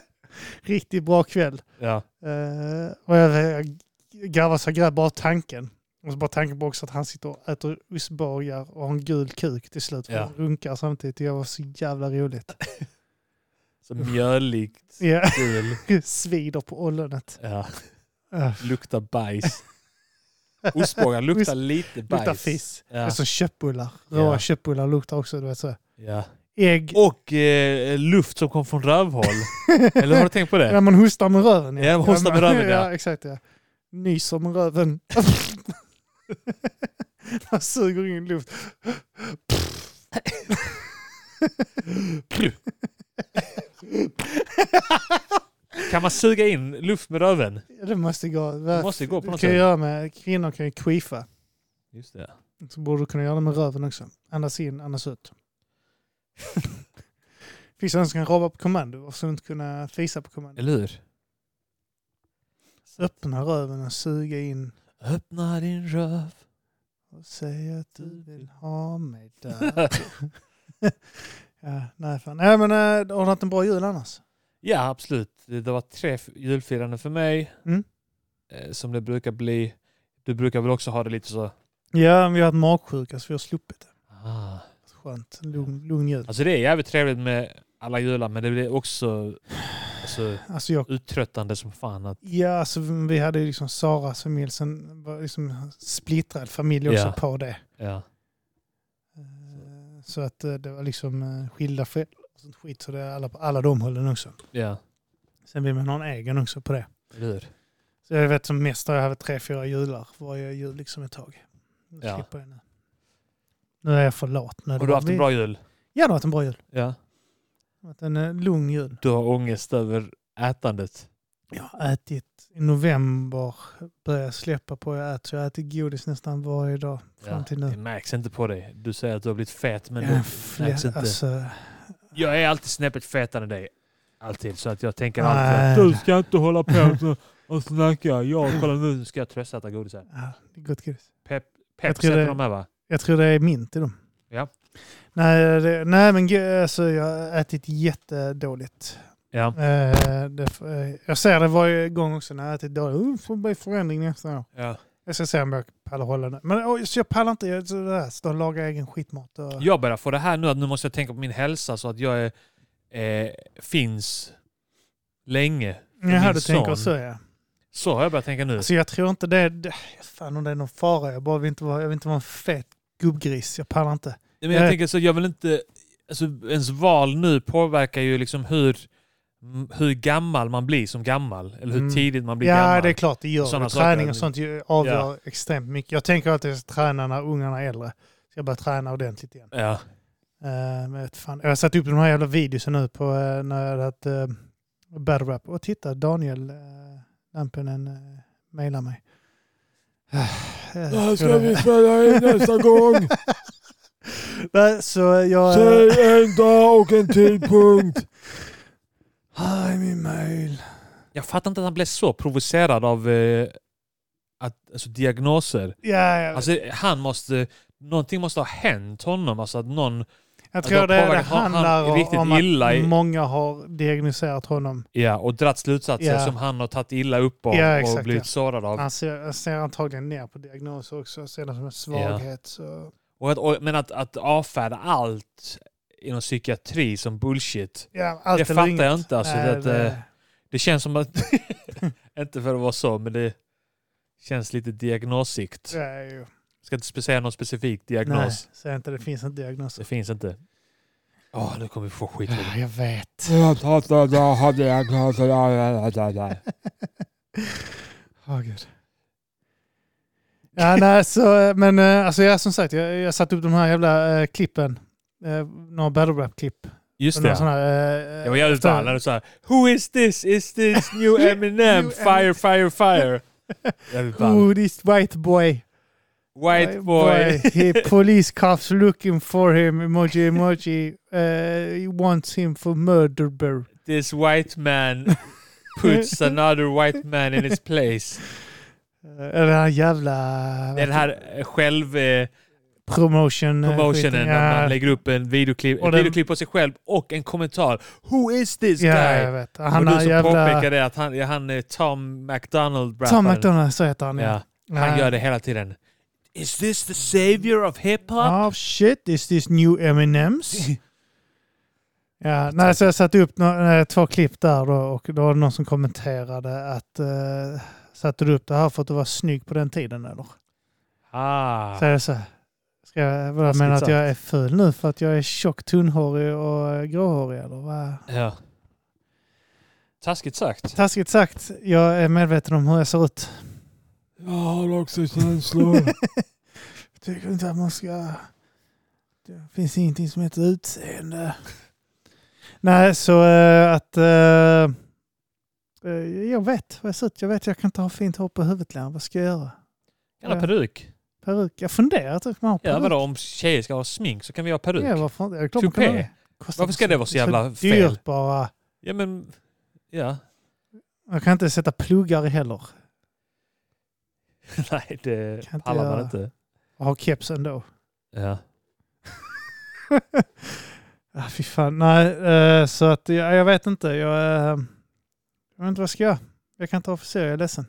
B: riktigt bra kväll.
A: Ja.
B: Eh, och jag, jag garvar så jag grät bara tanken. Och så bara tanken på också att han sitter och äter ostbågar och har en gul kuk till slut. För
A: Ja.
B: han runkar samtidigt. Det var så jävla roligt.
A: Så mjöligt.
B: Ja,
A: Gul.
B: svider på ollonet.
A: Ja.
B: Uh,
A: Luktar bajs. Ostbågar luktar lite bajs.
B: luktar Alltså- fiss. Det är
A: Ja.
B: som köttbullar. Råa
A: Ja.
B: köttbullar luktar också. Du vet så.
A: Ja.
B: Ägg.
A: Och eh, luft som kom från rövhål. Eller har du tänkt på
B: Ja,
A: det?
B: man hostar med röven.
A: Eh. Ja, man hostar med
B: man-
A: röven, ja.
B: ja exakt. Ja. Nyser med röven. man suger in luft.
A: Kan man suga in luft med röven?
B: Det måste gå.
A: Det måste gå på
B: du
A: något
B: kan ju
A: sätt.
B: göra med, kvinnor kan ju queefa.
A: Just det.
B: Så borde du kunna göra det med röven också. Andas in, andas ut. Finns det någon som kan robba på kommando? Varför skulle du inte kunna fisa på kommando?
A: Eller hur?
B: Öppna röven och suga in.
A: Öppna din röv.
B: Och säg att du vill ha mig där. ja, nej, fan. nej men äh, har du haft en bra jul annars?
A: Ja, absolut. Det det var tre f- julfiranden för mig.
B: Mm.
A: Eh, Som det brukar bli. Du brukar väl också ha det lite så...
B: Ja, men vi har haft magsjuka så vi har sluppit det.
A: Ah.
B: Skönt. Lugn, lugn jul.
A: Alltså det är jävligt trevligt med alla jular men det blir också alltså,
B: Alltså jag,
A: uttröttande som fan. Att,
B: ja, alltså vi hade ju liksom Saras familj, sen var liksom splittrad familj också
A: Ja.
B: på det.
A: ja.
B: Eh, Så att eh, det var liksom eh, skilda föräldrar och sånt skit. Så det alla, alla de höll den också.
A: ja.
B: Sen vill man ha en egen också på det.
A: Eller hur?
B: Så jag vet som mest har jag haft tre, fyra jular varje jul liksom ett tag. Nu
A: Ja.
B: slipper jag nu. Nu är jag för lat. Nu är det
A: Har du
B: bara
A: haft en
B: vi-
A: bra jul?
B: Ja, det har varit en bra jul.
A: Ja.
B: varit en eh, lugn jul.
A: Du har ångest över ätandet.
B: Jag har ätit i november, började släppa på att äta, så jag har ätit godis nästan varje dag fram till
A: det
B: nu.
A: märks inte på dig. Du säger att du har blivit fet, men
B: Jag
A: du
B: är
A: märks
B: fler,
A: inte.
B: alltså,
A: Jag är alltid snäppet fetare än dig. Alltid. Så att jag tänker
B: Nej.
A: alltid du ska inte hålla på så- och snacka. Jag kolla nu ska jag tröstäta godis här.
B: ja, det är gott godis.
A: Pep,
B: Jag
A: peps
B: tror
A: heter
B: det-
A: de här va?
B: Jag tror det är mint i dem.
A: Ja.
B: Nej, det, nej men ge- alltså, jag har ätit jättedåligt.
A: Ja.
B: Eh, det, f- eh, jag ser det varje gång också när jag ätit dåligt. Uh, får bli förändring nästa år.
A: ja.
B: Jag ska se om jag pallar hålla det. Men oj, så jag pallar inte. Jag, så där, stå och laga egen skitmat. Och,
A: Jag börjar få det här nu att nu måste jag tänka på min hälsa så att jag är, eh, finns länge.
B: Jaha,
A: min
B: du tänker
A: son.
B: så ja.
A: Så har jag börjat tänka nu.
B: Alltså, jag tror inte det är... det- Fan om det är någon fara. Jag, bara vill inte vara, jag vill inte vara en fet gubbgris. Jag pallar inte.
A: Nej, men jag
B: Nej.
A: tänker så, jag vill inte... Alltså, ens val nu påverkar ju liksom hur, m- hur gammal man blir som gammal. Eller hur
B: Mm.
A: tidigt man blir
B: Ja,
A: gammal.
B: det är klart det gör
A: Sådana
B: det. Träning
A: saker.
B: och sånt ju avgör extremt mycket. Jag tänker alltid att jag ska träna när ungarna är äldre. Så jag börjar träna ordentligt igen.
A: Ja.
B: Eh, men jag vet fan. Jag har satt upp de här jävla videosen nu på eh, när jag hade haft uh, battle rap. Och titta, Daniel uh, Lampinen uh, mejlar mig. Eh, jag
C: Det här
B: tror
C: ska
B: det-
C: vi spela in nästa gång.
B: Nej, Så jag... eh,
C: Säg en dag och en tidpunkt.
B: Här är min mail.
A: Jag fattar inte att han blev så provocerad av eh, att, alltså, diagnoser.
B: Ja, jag,
A: Alltså, han måste, någonting måste ha hänt honom. Alltså att någon...
B: jag tror
A: de
B: det, det
A: påverkar han- han
B: handlar
A: riktigt
B: om att
A: illa i-
B: många har diagnostiserat honom
A: Ja, och dratt slutsatser
B: Ja.
A: som han har tagit illa upp av
B: Ja,
A: och
B: exakt,
A: blivit
B: ja.
A: sårad av.
B: Han ser, han ser antagligen ner på diagnoser också, ser det som en svaghet. Så.
A: Och att, och, men att, att avfärda allt inom psykiatri som bullshit.
B: Ja, allt
A: Det
B: eller
A: fattar
B: inget.
A: jag inte, alltså,
B: Nej,
A: det- Det känns som att, inte för att vara så, men det känns lite diagnosigt.
B: det är ju...
A: Ska inte säga någon specifik
B: Nej,
A: diagnos.
B: säg inte det finns en diagnos.
A: Det finns inte. Åh, nu kommer vi få skit. för det.
B: Jag vet.
C: Jag hatar det, jag hade en chans att göra det där.
B: Åh gud. Ja, nej, så, eh, men eh, alltså, jag, som sagt, jag, jag satte upp de här jävla eh, klippen. Eh, några battle rap-klipp.
A: Just
B: Några
A: det.
B: sådana här, eh,
A: Jag var jävligt
B: efter-
A: ball. så här, Who is this? Is this new Eminem?
B: New
A: Fire, fire, fire. Jävligt ball.
B: Who this white boy?
A: White boy.
B: He, police cops looking for him. Emoji, emoji. Uh, he wants him for murder.
A: This white man puts another white man in his place.
B: Uh, den här jävla
A: Den här eh, själv... Eh,
B: promotion. eh,
A: promotionen
B: skiten.
A: när
B: Ja,
A: man lägger upp en videoklipp,
B: Och
A: ett
B: den-
A: videoklipp på sig själv och en kommentar. Who is this
B: ja,
A: guy?
B: jag vet.
A: Han
B: Han
A: och du
B: har
A: som
B: jävla...
A: påpekade att han, ja, han är Tom McDonald.
B: Tom
A: rapparen.
B: McDonald, så heter han.
A: Ja, han
B: Ja.
A: gör det hela tiden. Is this the savior of hiphop?
B: Oh shit, is this new M&M's? ja, nej, så jag satte upp nå- eh, två klipp där då, och då var det någon som kommenterade att eh, satte du upp det här för att du var snygg på den tiden eller?
A: Ah.
B: Så är det så. här, Ska jag vad menar att
A: Taskigt
B: jag är ful nu för att jag är tjock, tunnhårig och eh, gråhårig eller vad?
A: Ja. Taskigt sagt.
B: Taskigt sagt, jag är medveten om hur jag ser ut.
C: Jag har också känslor.
B: Jag tycker inte att man ska... Det finns ingenting som heter utseende. Nej, så eh, att... eh, eh, jag vet vad jag ser ut. Jag vet att jag kan inte ha fint hår på huvudet längre. Vad ska jag göra?
A: Kan ha
B: Ja.
A: peruk.
B: Peruk? Jag funderar att jag kan ha peruk.
A: Ja, vadå, om tjejer ska ha smink så kan vi ha peruk.
B: Ja, varför inte? Jag är klart man kan
A: Tupé.
B: ha det. Kostar
A: Varför ska det vara så jävla
B: så dyrt
A: fel?
B: bara.
A: Ja, men... Ja.
B: Jag kan inte sätta pluggar heller.
A: Nej, det
B: Kan inte
A: pallar man
B: göra.
A: inte.
B: Och ha keps ändå.
A: Ja.
B: Ah, fy fan. Nej, eh, så att jag, jag vet inte. Jag, eh, jag vet inte vad jag ska göra. Jag kan inte officera, jag är ledsen.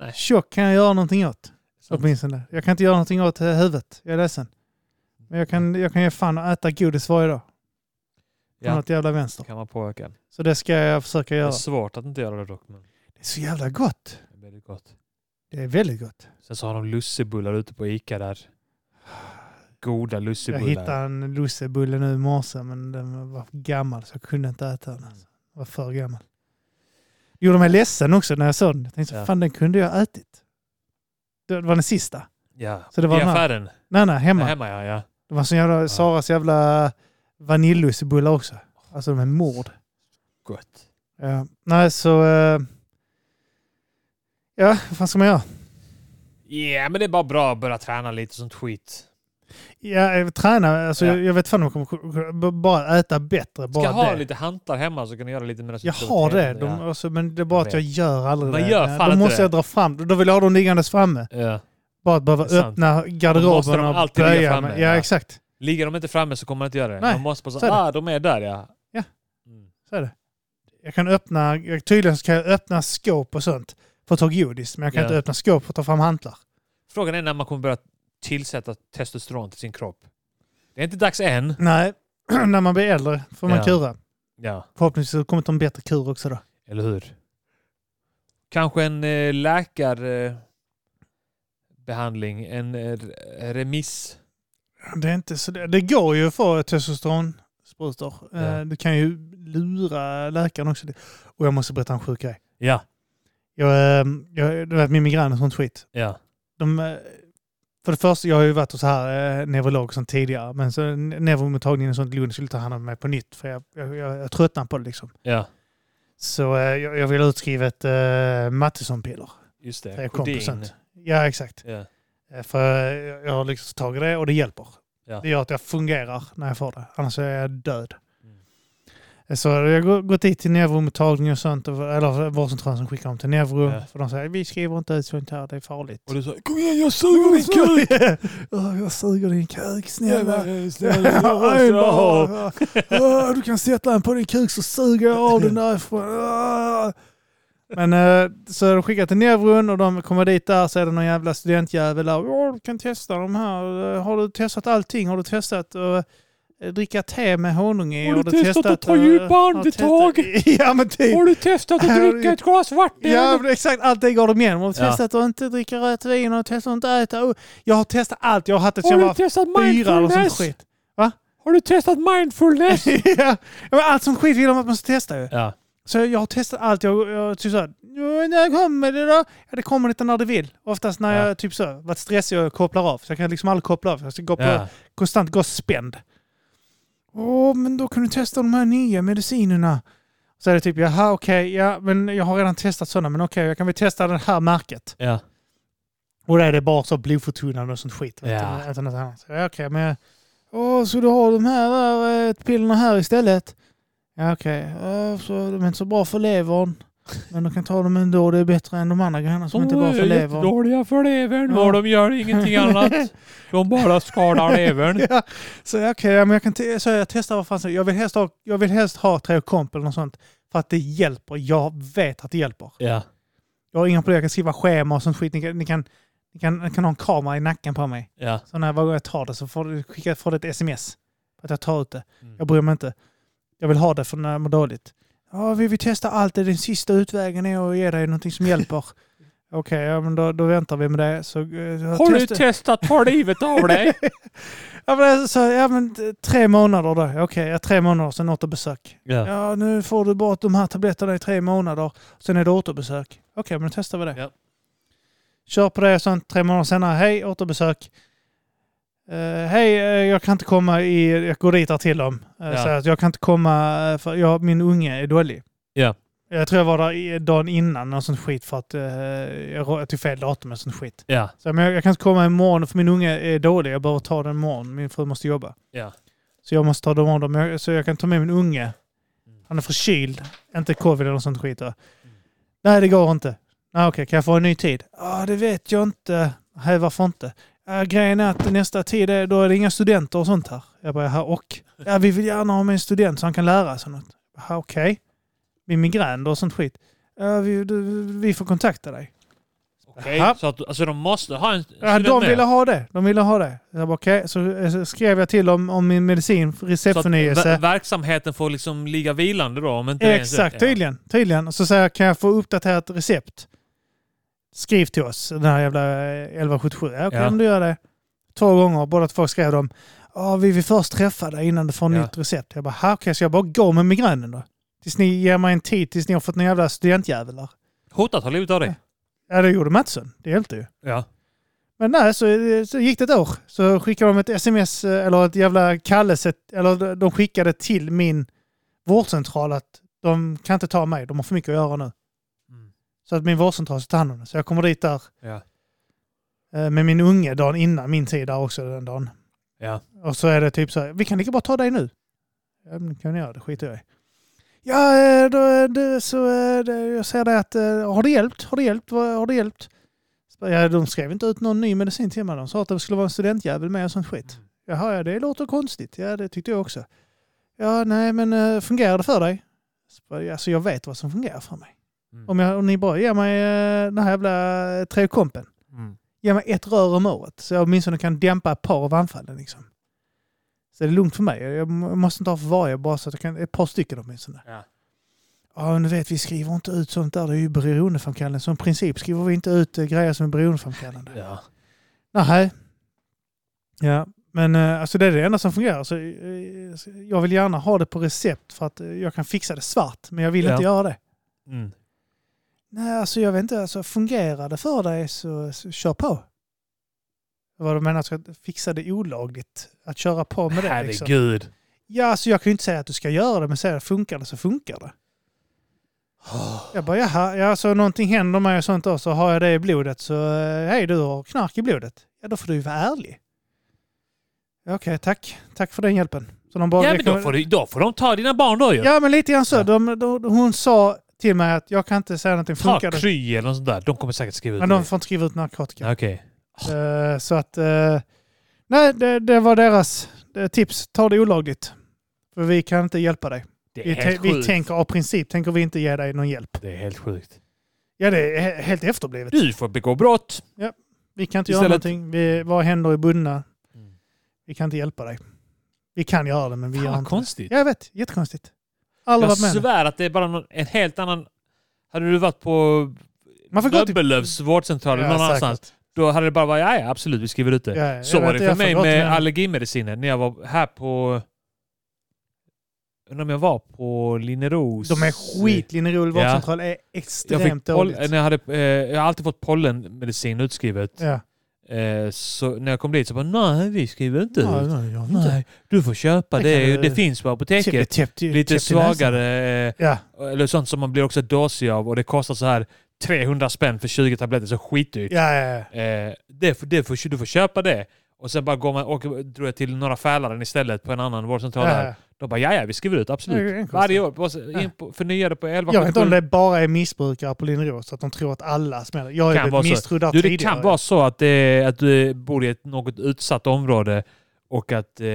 A: Nej.
B: Tjock kan jag göra någonting åt.
A: sant.
B: Åtminstone. Jag kan inte göra någonting åt eh, huvudet, jag är ledsen. Men jag kan, jag kan ge fan och äta godis varje dag. Från
A: Ja.
B: något jävla vänster.
A: Kan man påverka.
B: Så det ska jag försöka
A: Det är
B: göra.
A: svårt att inte göra det dock, men
B: Det är så jävla gott.
A: det är väldigt gott.
B: Det är väldigt gott.
A: Sen så har de lussebullar ute på Ica där. Goda
B: Jag
A: lussebullar.
B: hittade en lussebulle nu i morse men den var gammal så jag kunde inte äta
A: Mm.
B: den. Alltså. Den var för gammal. Det gjorde mig ledsen också när jag såg den. Jag tänkte så,
A: Ja.
B: fan den kunde jag ha ätit. Det var den sista.
A: Ja.
B: Så det var
A: I
B: den här
A: affären.
B: Nej, nej, hemma.
A: Hemma. hemma ja, ja.
B: Det var sån jävla, Saras jävla vaniljlussebullar också.
A: Åh,
B: Alltså de är mord.
A: Gott.
B: Ja. Nej, så... eh, ja, vad fan ska man göra?
A: Ja, men det är bara bra att börja träna lite och sånt skit.
B: Ja, eh, träna. Alltså,
A: Ja.
B: jag, jag vet fan om jag kommer... b- Bara äta bättre.
A: Ska
B: Bara
A: jag ha
B: det.
A: lite hantar hemma så kan jag göra lite medan
B: Jag
A: sitter
B: har
A: och
B: det.
A: tränar.
B: De, alltså, men det är bara
A: Jag
B: att jag gör aldrig
A: Man
B: det.
A: gör
B: Ja,
A: fan
B: Då
A: inte
B: måste
A: det.
B: jag dra fram. Då vill jag ha dem liggandes framme.
A: ja. Ja.
B: Bara att behöva
A: Det är sant.
B: öppna
A: Då måste de
B: garderoben och
A: alltid ligga
B: böja
A: framme,
B: mig.
A: ja.
B: Ja, exakt.
A: Ligger de inte framme så kommer man inte göra det.
B: Nej,
A: man måste bara
B: så är
A: säga, ah de är där ja.
B: Ja.
A: Mm.
B: Jag kan öppna... Jag, tydligen så kan jag öppna skåp och sånt för att ta godis. Men jag kan
A: Ja.
B: inte öppna skåp för att ta fram hantlar.
A: Frågan är när man kommer börja tillsätta testosteron till sin kropp. Det är inte dags än.
B: Nej, när man blir äldre får man
A: Ja.
B: kura.
A: Ja,
B: Förhoppningsvis så kommer det en bättre kur också då.
A: eller hur? Kanske en eh, läkarbehandling, en eh, remiss.
B: Det, är inte så det, det går ju att få testosteronsprutor.
A: Ja.
B: Eh, Du kan ju lura läkaren också. Och jag måste berätta en sjuk grej.
A: Ja,
B: Jag, eh, jag, du vet, min migrän och sånt skit.
A: ja.
B: De, eh, för det första, jag har ju varit hos så här eh, neurolog och sånt tidigare. Men så ne- neuromottagningen och sånt, Lund skulle ta hand om mig på nytt. För jag, jag, jag, jag tröttnade på det liksom.
A: ja.
B: Så eh, jag, jag vill utskriva ett eh, Mattessonpiller.
A: Just
B: För
A: det.
B: jag kom på
A: Kodin.
B: sånt. Ja, exakt.
A: Ja.
B: Eh, För jag jag har lyckats ta tag i det och det hjälper.
A: Ja.
B: Det gör att jag fungerar när jag får det. Annars är jag död.
A: Mm.
B: Eh, Så jag har gå- gått dit till neuromottagning och sånt. och- Eller vårdcentralen som skickar dem till neuro.
A: Ja.
B: För de säger vi skriver inte ut sånt här, det är farligt.
A: Och du sa kom igen jag suger min kuk!
B: Åh, jag suger din kuk, snälla.
A: Snälla, jag
B: Nej,
A: måste ha.
B: bara.
A: Ah,
B: Åh, du kan sätta den på din kuk så suger jag av den därifrån.
A: Ah.
B: Åh. Men eh, så har de skickat till neuron och de kommer dit där så är det någon jävla studentjävel där. Åh, du kan testa de här. Eh, Har du testat allting? Har du testat att eh, dricka te med honung i?
A: Har du testat att ta
B: eh,
A: djupa
B: har du
A: andetag?
B: testat- Ja men typ.
A: Har du testat att dricka ett glas vatten?
B: Ja, men exakt. Allt det går de igenom. Och
A: Ja.
B: testat att inte dricka rött vin och testat att inte äta. Och Jag har testat allt. Jag har haft ett
A: Har
B: jag
A: du
B: var
A: testat
B: fyra eller sånt
A: mindfulness?
B: skit.
A: Har du testat mindfulness?
B: ja, men allt som skit vill de att man ska testa ju.
A: Ja.
B: Så jag har testat allt. Jag, jag typ såhär, "Ja, när kommer det då? Ja, det kommer lite när det vill. Oftast när
A: Ja.
B: jag typ så, varit stressig och kopplar av. Så jag kan liksom aldrig koppla av. Jag ska gå på,
A: Ja.
B: konstant gå spänd. Åh, men då kan du testa de här nya medicinerna. Så är det typ, jaha okej, ja men jag har redan testat sådana, men okej jag kan väl testa det här märket.
A: Ja.
B: Och där är det bara så blodförtunnande och sånt skit. vet du,
A: Ja.
B: Utan något annat. Så, ja, okej, men... Åh, så du har de här där, eh, pillerna här istället? Ja, okej. Ja, så de är inte så bra för levern. Men du kan ta dem ändå. Det är bättre än de andra grejerna som inte är bra för levern.
A: Dåliga för levern.
B: Ja.
A: Och de gör ingenting annat. De bara skadar levern.
B: Ja, så ja, okej, ja, men jag kan te- så jag testar vad fan som- jag vill helst ha, jag vill helst ha Treokomp eller något sånt. För att det hjälper. Jag vet att det hjälper.
A: Ja.
B: Jag har inga problem. Jag kan skriva schema och sånt skit. Ni kan, ni kan, ni kan, ni kan ha en kamera i nacken på mig.
A: Ja.
B: Så när varje gång jag tar det så får du skicka får du ett sms. för Att jag tar ut det.
A: Mm.
B: Jag bryr mig inte. Jag vill ha det för när jag mår dåligt. Ja, vi vill testa allt. Det är Den sista utvägen är att ge dig någonting som hjälper. Okej, ja, men då, då väntar vi med det. Så, eh,
A: Har du
B: testa-
A: testat ta livet av dig?
B: ja, men, alltså, ja, men eh, tre månader då. Okej, ja, tre månader, sen återbesök.
A: Ja.
B: Ja, nu får du bara de här tabletterna i tre månader. Sen är det återbesök. Okej, men då testar vi det.
A: Ja.
B: Kör på det och sen tre månader senare. Hej, återbesök. Eh, Hej, eh, jag kan inte komma i... Jag går dit där till dem. Uh,
A: Ja.
B: att jag kan inte komma eh, för jag, min unge är dålig.
A: Ja.
B: Jag tror jag var där i- dagen innan och sånt skit för att eh, jag, rå- jag tog fel datum och sånt skit.
A: Ja.
B: Så, men jag, jag kan inte komma imorgon för min unge är dålig. Jag behöver ta den imorgon. Min fru måste jobba.
A: Ja.
B: Så jag måste ta dem av dem. Jag, så jag kan ta med min unge.
A: Mm.
B: Han är förkyld. Inte covid eller något sånt skit. Då. Nej, det går inte. Nej, okej. Kan jag få en ny tid? Ja, det vet jag inte. Nej, varför inte? Ja, grejen är att nästa tid är, då är det inga studenter och sånt här. Jag bara, här och? Ja, vi vill gärna ha med en student så han kan lära sig något. Ja, okej. Med migrän då och sånt skit. Ja, vi, du, vi får kontakta dig.
A: Okej,
B: Ja.
A: så att, alltså de måste ha en
B: Ja,
A: student
B: de
A: med.
B: ville ha det. De ville ha det. Jag bara, okej. Så eh, så skrev jag till om, om min medicin,
A: Så att ver-
B: receptförnyelse.
A: verksamheten får liksom ligga vilande då? Om inte det är en
B: Exakt,
A: student.
B: tydligen. Tydligen. Och så säger jag, kan jag få uppdaterat recept? Skriv till oss, den här jävla eh, 1177. Ja, okej,
A: Ja.
B: om du gör det. Två gånger, båda två skrev de. Ja, vi vill först träffa dig innan du får
A: Ja.
B: nytt recept. Jag bara, "Ha, okej, så jag bara går med migränen då? Tills ni ger mig en tid, tills ni har fått några jävla studentjävlar.
A: Ja. Hotat har livet av dig?
B: Ja, det gjorde Mattsson. Det hjälpte ju.
A: Ja.
B: Men nej, så, så gick det ett år. Så skickade de ett sms eh, eller ett jävla kallelse. Eller de skickade till min vårdcentral att de kan inte ta mig, de har för mycket att göra nu.
A: Mm.
B: Så att min vårdcentral ska ta hand om det. Så jag kommer dit där
A: Ja.
B: eh, med min unge dagen innan min tid där också den dagen.
A: Ja.
B: Och så är det typ så här, vi kan lika bra ta dig nu. Ja, men kan ni göra det, skiter jag i. Ja, eh, då, är det, så eh, det, jag ser det att, eh, har det hjälpt? Har det hjälpt? Vad- Har det hjälpt? Så bara, Ja, de skrev inte ut någon ny medicin till mig. De sa att det skulle vara en studentjävel med och sånt skit. Jaha, ja, det låter konstigt. Ja, det tyckte jag också. Ja, nej, men eh, fungerar det för dig? Så bara, Alltså, jag vet vad som fungerar för mig.
A: Mm.
B: Om, jag, om ni bara ger mig eh, den här jävla trekompen.
A: Mm.
B: Ge mig ett rör om året så jag åtminstone kan dämpa ett par av anfallen. Liksom. Så det är lugnt för mig. Jag jag måste inte ha för varje, bara så att jag kan ett par stycken åtminstone.
A: Ja.
B: Ja, nu vet vi skriver inte ut sånt där. Det är ju beroendeframkallande. Som princip skriver vi inte ut eh, grejer som är beroendeframkallande.
A: Ja.
B: Nej. Ja, men eh, alltså det är det enda som fungerar. Så, eh, så jag vill gärna ha det på recept för att eh, jag kan fixa det svart, men jag vill
A: Ja.
B: inte göra det.
A: Mm.
B: Nej, alltså jag vet inte. Alltså, fungerar det för dig så, så kör på. Vad du menar, att fixa det olagligt? Att köra på med det? Liksom.
A: Herregud.
B: Ja, alltså jag kan ju inte säga att du ska göra det, men säga funkar det så funkar det. Jag bara, jaha, ja, så någonting händer mig och sånt då, så har jag det i blodet så, eh, hej du har knark i blodet. Ja, då får du ju vara ärlig. Ja, Okej, tack. Tack för den hjälpen. Så de bara
A: Ja men då
B: rekommenderar-
A: får, du, då får de ta dina barn då ju.
B: ja, men lite grann så.
A: Ja.
B: De, de, hon sa till mig att jag kan inte säga någonting,
A: ta
B: funkar det?
A: Kry eller något sånt där. De kommer säkert skriva ut
B: Men de
A: det.
B: får inte skriva ut narkotika.
A: Ja, Okej.
B: Eh, Så att, eh, nej, det, det var deras eh, tips. Ta det olagligt. För vi kan inte hjälpa dig.
A: Det
B: Vi,
A: är
B: te-
A: helt
B: vi
A: sjukt.
B: tänker av princip tänker vi inte ge dig någon hjälp.
A: Det är helt sjukt.
B: Ja, det är he- helt efterblivet.
A: Du får begå brott.
B: Vi kan inte
A: Istället-
B: göra någonting. Vi, våra händer är bundna.
A: Mm.
B: Vi kan inte hjälpa dig. Vi kan göra det, men vi
A: Fan
B: gör
A: vad
B: inte det.
A: konstigt.
B: Ja, jag vet. Jättekonstigt. Alla
A: Jag
B: varit med. om det.
A: svär att det är bara någon, en helt annan... Hade du varit på
B: Man får gå till-
A: Nöbbelövs vårdcentral eller någon
B: Ja, säkert.
A: annanstans, då hade det bara varit ja, ja absolut, vi skriver ut det.
B: Ja, ja, jag
A: Så var
B: vet,
A: det för
B: jag
A: mig
B: får gå till
A: med
B: den.
A: allergimedicinen när jag var här på... Undrar om jag var på Linneros...
B: De är skit. Linnerol
A: Oh, Ja.
B: vårdcentral är
A: Jag, fick
B: extremt
A: poll,
B: dåligt.
A: när jag, hade, eh, jag har alltid fått pollenmedicin utskrivet.
B: Ja.
A: Eh, så när jag kom dit så bara nej, vi skriver inte
B: Ja,
A: ut.
B: nej, jag vet inte.
A: Nej, du får köpa
B: Det
A: det.
B: kan
A: Det,
B: du-
A: finns på
B: Täpp-
A: apoteket.
B: täpp till-
A: Lite
B: täpp till näsan.
A: svagare... Eh,
B: Ja.
A: eller sånt som man blir också dåsig av och det kostar så här 300 spänn för 20 tabletter, så skitdyrt.
B: Ja, ja, ja.
A: Eh, det får, det får, du får köpa det. Och sen bara går man, åker tror jag, till några Fälaren istället på en annan vårdcentral.
B: Ja,
A: där.
B: ja.
A: Då bara ja, ja, vi skriver ut, absolut.
B: Eh, Det är en konstig.
A: Varje år, på- in på- förnya det på 11
B: Jag vet inte om det bara är missbrukare på Linneros, så att de tror att alla smäller. Jag
A: Kan
B: är
A: vara
B: väl
A: så.
B: misstrodd där
A: Du, det
B: tidigare.
A: kan vara så att, det, att du bor i ett något utsatt område och att... Eh,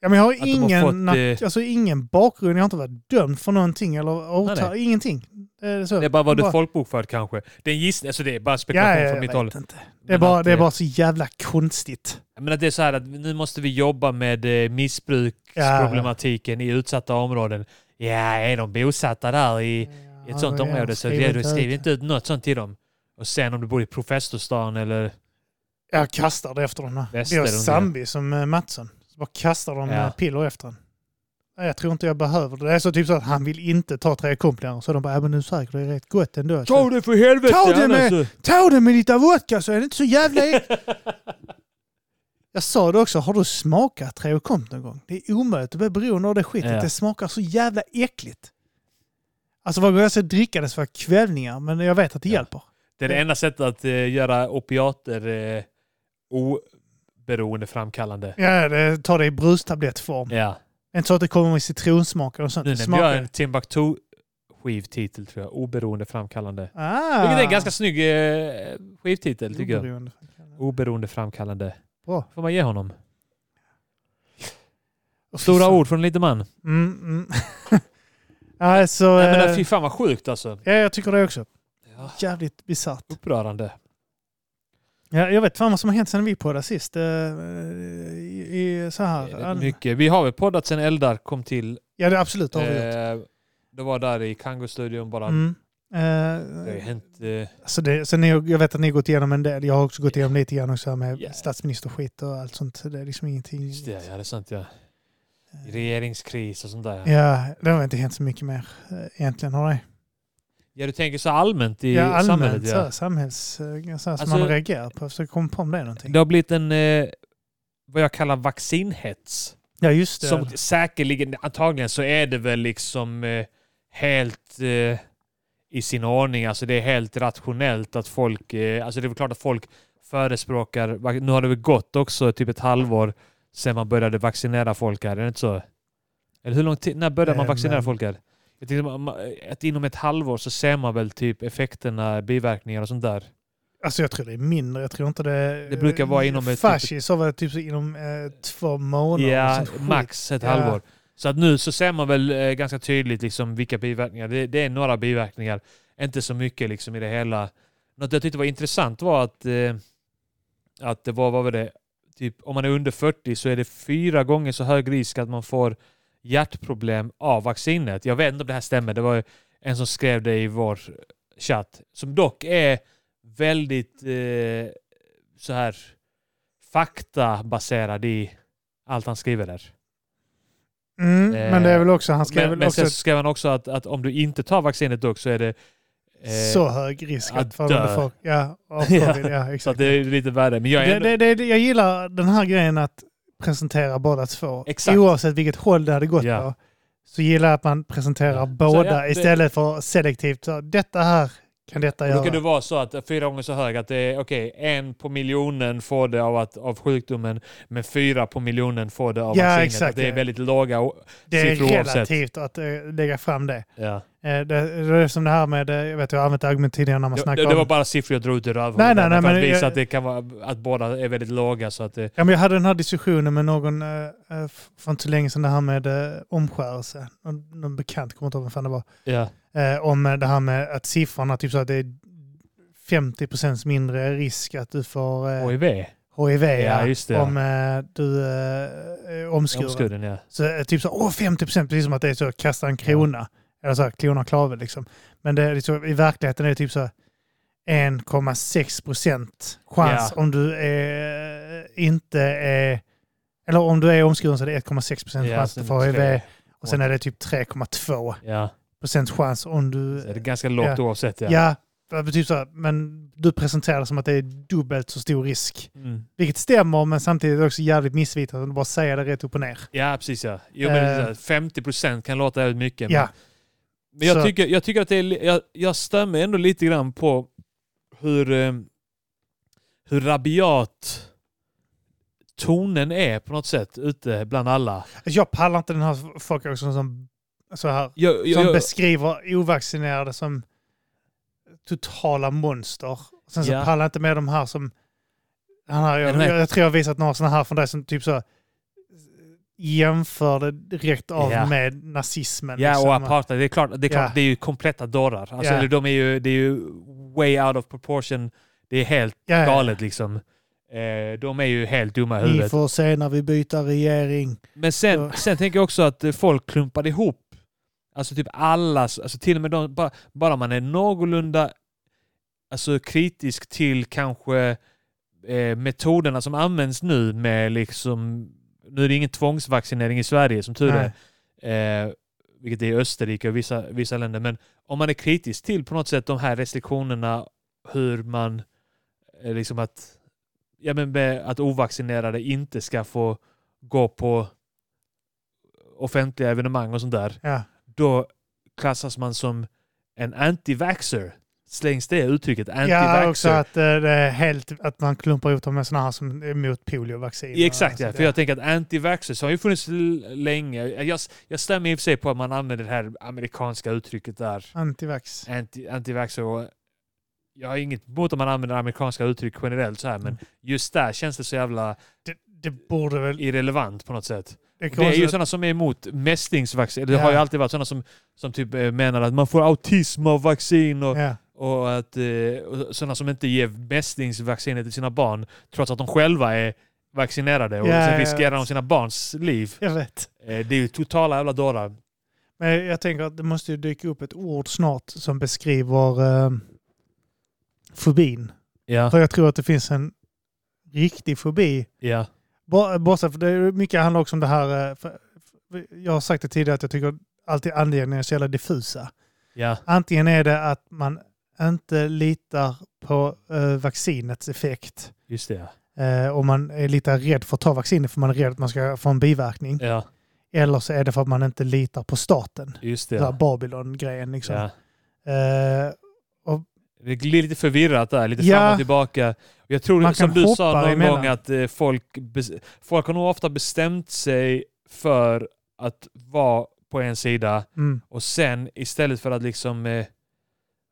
B: Ja, men jag har
A: de har
B: ingen,
A: fått,
B: na-
A: eh,
B: alltså, ingen bakgrund, jag har inte varit dömd för någonting eller
A: Nej,
B: åtal, ingenting. Det är, så.
A: det är bara vad du
B: Bara-
A: är folkbokförd kanske. Det är en gissning, alltså det är bara
B: ja,
A: spekulation
B: ja,
A: från
B: jag
A: mitt
B: vet
A: håll.
B: inte. Det är,
A: Men
B: bara,
A: att,
B: det är
A: eh,
B: bara så jävla konstigt.
A: Men att det är så här att nu måste vi jobba med eh, missbruksproblematiken i utsatta områden. Ja, är de bosatta där i ett sånt
B: Ja, men
A: område så ja,
B: skriver
A: du
B: inte
A: skriver
B: ut.
A: inte ut något sånt till dem. Och sen om du bor i Professorstan eller...
B: Jag kastar det efter dem. här.
A: Väster
B: Vi har
A: under.
B: Sambi som eh, Mattsson. Så bara kastar de
A: Ja.
B: eh, piller efter honom. Nej, Jag tror inte jag behöver det. Det är så typ så att han vill inte ta tre kompisar. Så de bara, ja men nu säkert, det är rätt gott ändå. Så-
A: det för helvete!
B: Ta det med-
A: annars
B: Ta det med lite vodka så är det inte så jävla äckligt. Jag sa det också, har du smakat Treocomt någon gång? Det är omöjligt att bli beroende av det skitet.
A: Ja.
B: Det smakar så jävla äckligt. Alltså vad går jag ska dricka det så för kvällningar, men jag vet att det
A: Ja.
B: hjälper.
A: Det är det enda sättet att eh, göra opiater eh, oberoendeframkallande.
B: Ja, det, ta det i brustablettform.
A: Ja.
B: Inte så att det kommer med citronsmaker och sånt.
A: Nu
B: Det
A: nämnde
B: smakar-
A: jag en Timbuktu skivtitel tror jag. Oberoendeframkallande.
B: Ah.
A: Vilket är en ganska snygg eh, skivtitel tycker jag.
B: Oberoende.
A: Oberoendeframkallande.
B: Bra.
A: Får man ge honom. Stora ord från en liten man.
B: Mm, mm. alltså,
A: Nej, men
B: eh,
A: fy fan vad sjukt alltså.
B: ja, jag tycker det också.
A: Ja.
B: Jävligt bisarrt.
A: Upprörande.
B: Ja, jag vet fan vad som har hänt sedan vi poddade sist. eh, I, i, så
A: Det
B: här.
A: är
B: an-
A: Mycket. Vi har väl poddat sen Eldar kom till.
B: Ja, det absolut det har vi gjort.
A: Eh, det var där i Kango-studion bara.
B: Mm.
A: Eh, Det har ju
B: Eh,
A: hänt... Eh,
B: alltså det, sen är, jag vet att ni har gått igenom en del. Jag har också gått igenom lite grann också här med
A: Ja.
B: statsministerskit och allt sånt. Det är liksom ingenting. Eh,
A: just det, ja, det är sant ja. Regeringskris och sånt där. Ja,
B: Ja, det har inte hänt så mycket mer eh, egentligen. Har det?
A: ja du tänker så allmänt i
B: ja, allmänt
A: samhället
B: så,
A: ja.
B: här, samhälls... eh, Så här, som
A: Alltså-
B: man reagerar på. Så kom på om det är någonting.
A: Det har blivit en... Eh, vad jag kallar vaccinhets.
B: Ja, just det.
A: Som säkerligen, antagligen så är det väl liksom eh, helt eh, i sin ordning. Alltså det är helt rationellt att folk, eh, alltså det är väl klart att folk förespråkar, vac- nu har det väl gått också typ ett halvår sedan man började vaccinera folk här, är det inte så? Eller hur lång tid, när började man
B: Eh,
A: vaccinera
B: men-
A: folk här? Jag tänkte, ma- ma- att inom ett halvår så ser man väl typ effekterna, biverkningar och sånt där.
B: Alltså jag tror det är mindre. Jag tror inte det...
A: Det brukar vara inom ett-
B: Fascis har varit typ så inom eh, två månader.
A: Ja,
B: och sånt skit.
A: max ett
B: Ja.
A: halvår. Så att nu så ser man väl eh, ganska tydligt liksom vilka biverkningar. Det, det är några biverkningar, inte så mycket liksom i det hela. Något jag tyckte var intressant var att, eh, att det var, vad var det, typ om man är under 40 så är det fyra gånger så hög risk att man får hjärtproblem av vaccinet. Jag vet inte om det här stämmer. Det var ju en som skrev det i vår chatt. Som dock är väldigt eh, så här faktabaserad i allt han skriver där.
B: Mm,
A: Eh,
B: men det är väl också, han skrev
A: Men,
B: väl
A: men
B: också
A: sen så skrev han också att, att om du inte tar vaccinet dock så är det... eh,
B: så hög risk
A: att
B: att få
A: dö.
B: det för, ja, av
A: Ja,
B: covid. ja,
A: så att
B: exakt.
A: det är lite värre. Men jag är
B: Det,
A: ändå,
B: det, det, jag gillar den här grejen att presentera båda två.
A: Exakt.
B: Oavsett vilket håll det hade gått
A: Ja.
B: på. Så gillar jag att man presenterar
A: Ja. Så
B: båda
A: ja, det-
B: istället för selektivt. Så, detta här kan detta
A: då
B: göra.
A: kan det vara så att fyra gånger så hög att det är okej, en på miljonen får det av, att, av sjukdomen, men fyra på miljonen får det av
B: Ja,
A: vaccinet.
B: exakt,
A: Att det är
B: ja.
A: väldigt låga... o-
B: det är
A: siffror oavsett.
B: relativt att eh, lägga fram det.
A: Ja.
B: Eh, Det, det är som det här med, eh, jag vet jag har använt argument tidigare när man
A: Det,
B: snackar
A: det, det
B: om...
A: var bara siffror jag drog ut ur öronen
B: Nej, nej,
A: där,
B: nej,
A: för
B: men
A: att visa
B: jag-
A: att det kan vara att båda är väldigt låga så att det...
B: Ja, men jag hade den här diskussionen med någon eh, eh, för inte så länge sedan, det här med eh, omskärelse. Någon, någon bekant, kommer inte ihåg vem fan det var.
A: Ja.
B: Eh, om eh, det här med att siffrorna, typ så att det är 50 mindre risk att du får eh,
A: HIV.
B: HIV
A: Ja, just det.
B: om eh, du eh, är omskuren.
A: Omskuren, ja.
B: Så eh, typ så, åh 50 precis som att det är så, att kasta en krona. Eller så här, klona klave liksom. Men det är liksom, i verkligheten är det typ så här, 1,6 procent chans om du är, inte är... Eller om du är omskuren så är det 1,6 procent
A: Ja,
B: chans att du
A: sen
B: får HIV.
A: tre.
B: Och sen är det typ 3,2
A: Ja.
B: procent chans om du...
A: Så det är ganska lågt
B: Ja.
A: oavsett. Ja.
B: Ja, det betyder så här, men du presenterar det som att det är dubbelt så stor risk.
A: Mm.
B: Vilket stämmer, men samtidigt är det också jävligt missvisande att bara säga det rätt upp och ner.
A: Ja, precis ja. Jo, men det är
B: Eh.
A: så här, 50 procent kan låta jävligt mycket.
B: Ja,
A: Men, men jag,
B: så-
A: tycker, jag tycker att det är, li- jag, jag stämmer ändå lite grann på hur, eh, hur rabiat tonen är på något sätt ute bland alla.
B: Alltså, jag pallar inte den här folk också som, så här,
A: Jag,
B: som
A: jag, jag,
B: beskriver ovaccinerade som totala monster. Sen så
A: Ja.
B: pallar jag inte med de här som... Han här, jag,
A: Men de är-
B: jag, jag tror jag har visat några sådana här från dig som typ så jämförde direkt av
A: Ja.
B: med nazismen.
A: ja,
B: liksom.
A: och apartheid. Det är klart, det är, klart,
B: Ja.
A: det är ju kompletta dårar. Alltså,
B: Ja.
A: eller de är ju, det är ju way out of proportion. Det är helt
B: Ja, ja.
A: galet liksom. Eh, de är ju helt dumma i
B: Ni
A: huvudet.
B: får se när vi byter regering.
A: Men sen,
B: Så-
A: sen tänker jag också att eh, folk klumpade ihop, alltså typ alla, alltså till och med de, bara, bara man är någorlunda alltså kritisk till kanske eh, metoderna som används nu med liksom, nu är det ingen tvångsvaccinering i Sverige som tur
B: Nej.
A: är, eh, vilket det är i Österrike och vissa, vissa länder, men om man är kritisk till på något sätt de här restriktionerna, hur man eh, liksom att, ja men med att ovaccinerade inte ska få gå på offentliga evenemang och sånt där,
B: Ja.
A: då klassas man som en anti-vaxxer. Slängs det uttrycket?
B: Ja, också
A: Anti-vaxxer?
B: att, eh, det är helt, att man klumpar ihop dem med sådana här som är emot poliovaccin.
A: Ja, Exakt, ja.
B: Alltså,
A: För jag tänker att anti-vaxxers har ju funnits l- länge. Jag, jag stämmer i och för sig på att man använder det här amerikanska uttrycket där.
B: Antivax.
A: Anti- Anti-vaxxer och jag har inget emot om man använder amerikanska uttryck generellt så här, men just där känns det så jävla
B: Det, det borde väl...
A: irrelevant på något sätt.
B: Det,
A: Det är ju sådana som är emot mästingsvaccin. Det har ju
B: Ja.
A: alltid varit sådana som, som typ eh, menar att man får autism av vaccin och,
B: ja.
A: och att eh, och sådana som inte ger mästingsvaccinet till sina barn trots att de själva är vaccinerade och
B: Ja, ja,
A: sen
B: ja.
A: riskerar de sina barns liv.
B: Jag vet.
A: Eh, det är ju totala jävla dårar.
B: Men jag tänker att det måste ju dyka upp ett ord snart som beskriver eh, fobin.
A: Ja,
B: För jag tror att det finns en riktig fobi.
A: ja,
B: Bor- Bortsett för det är mycket handlar också om det här... eh, För, för jag har sagt det tidigare att jag tycker alltid anledningar är så jävla diffusa.
A: ja,
B: Antingen är det att man inte litar på eh, vaccinets effekt.
A: just det. ja.
B: Eh, och man är lite rädd för att ta vaccinet för man är rädd att man ska få en biverkning.
A: Ja,
B: Eller så är det för att man inte litar på staten.
A: just
B: Den här
A: det.
B: Babylon-grejen liksom.
A: Ja.
B: Eh,
A: Det blir lite förvirrat där, lite
B: Ja.
A: fram och tillbaka. Jag tror
B: Man
A: som
B: kan
A: du
B: hoppa
A: sa någon
B: emellan.
A: gång att eh, folk, bes- folk har nog ofta bestämt sig för att vara på en sida
B: mm,
A: och sen istället för att liksom eh,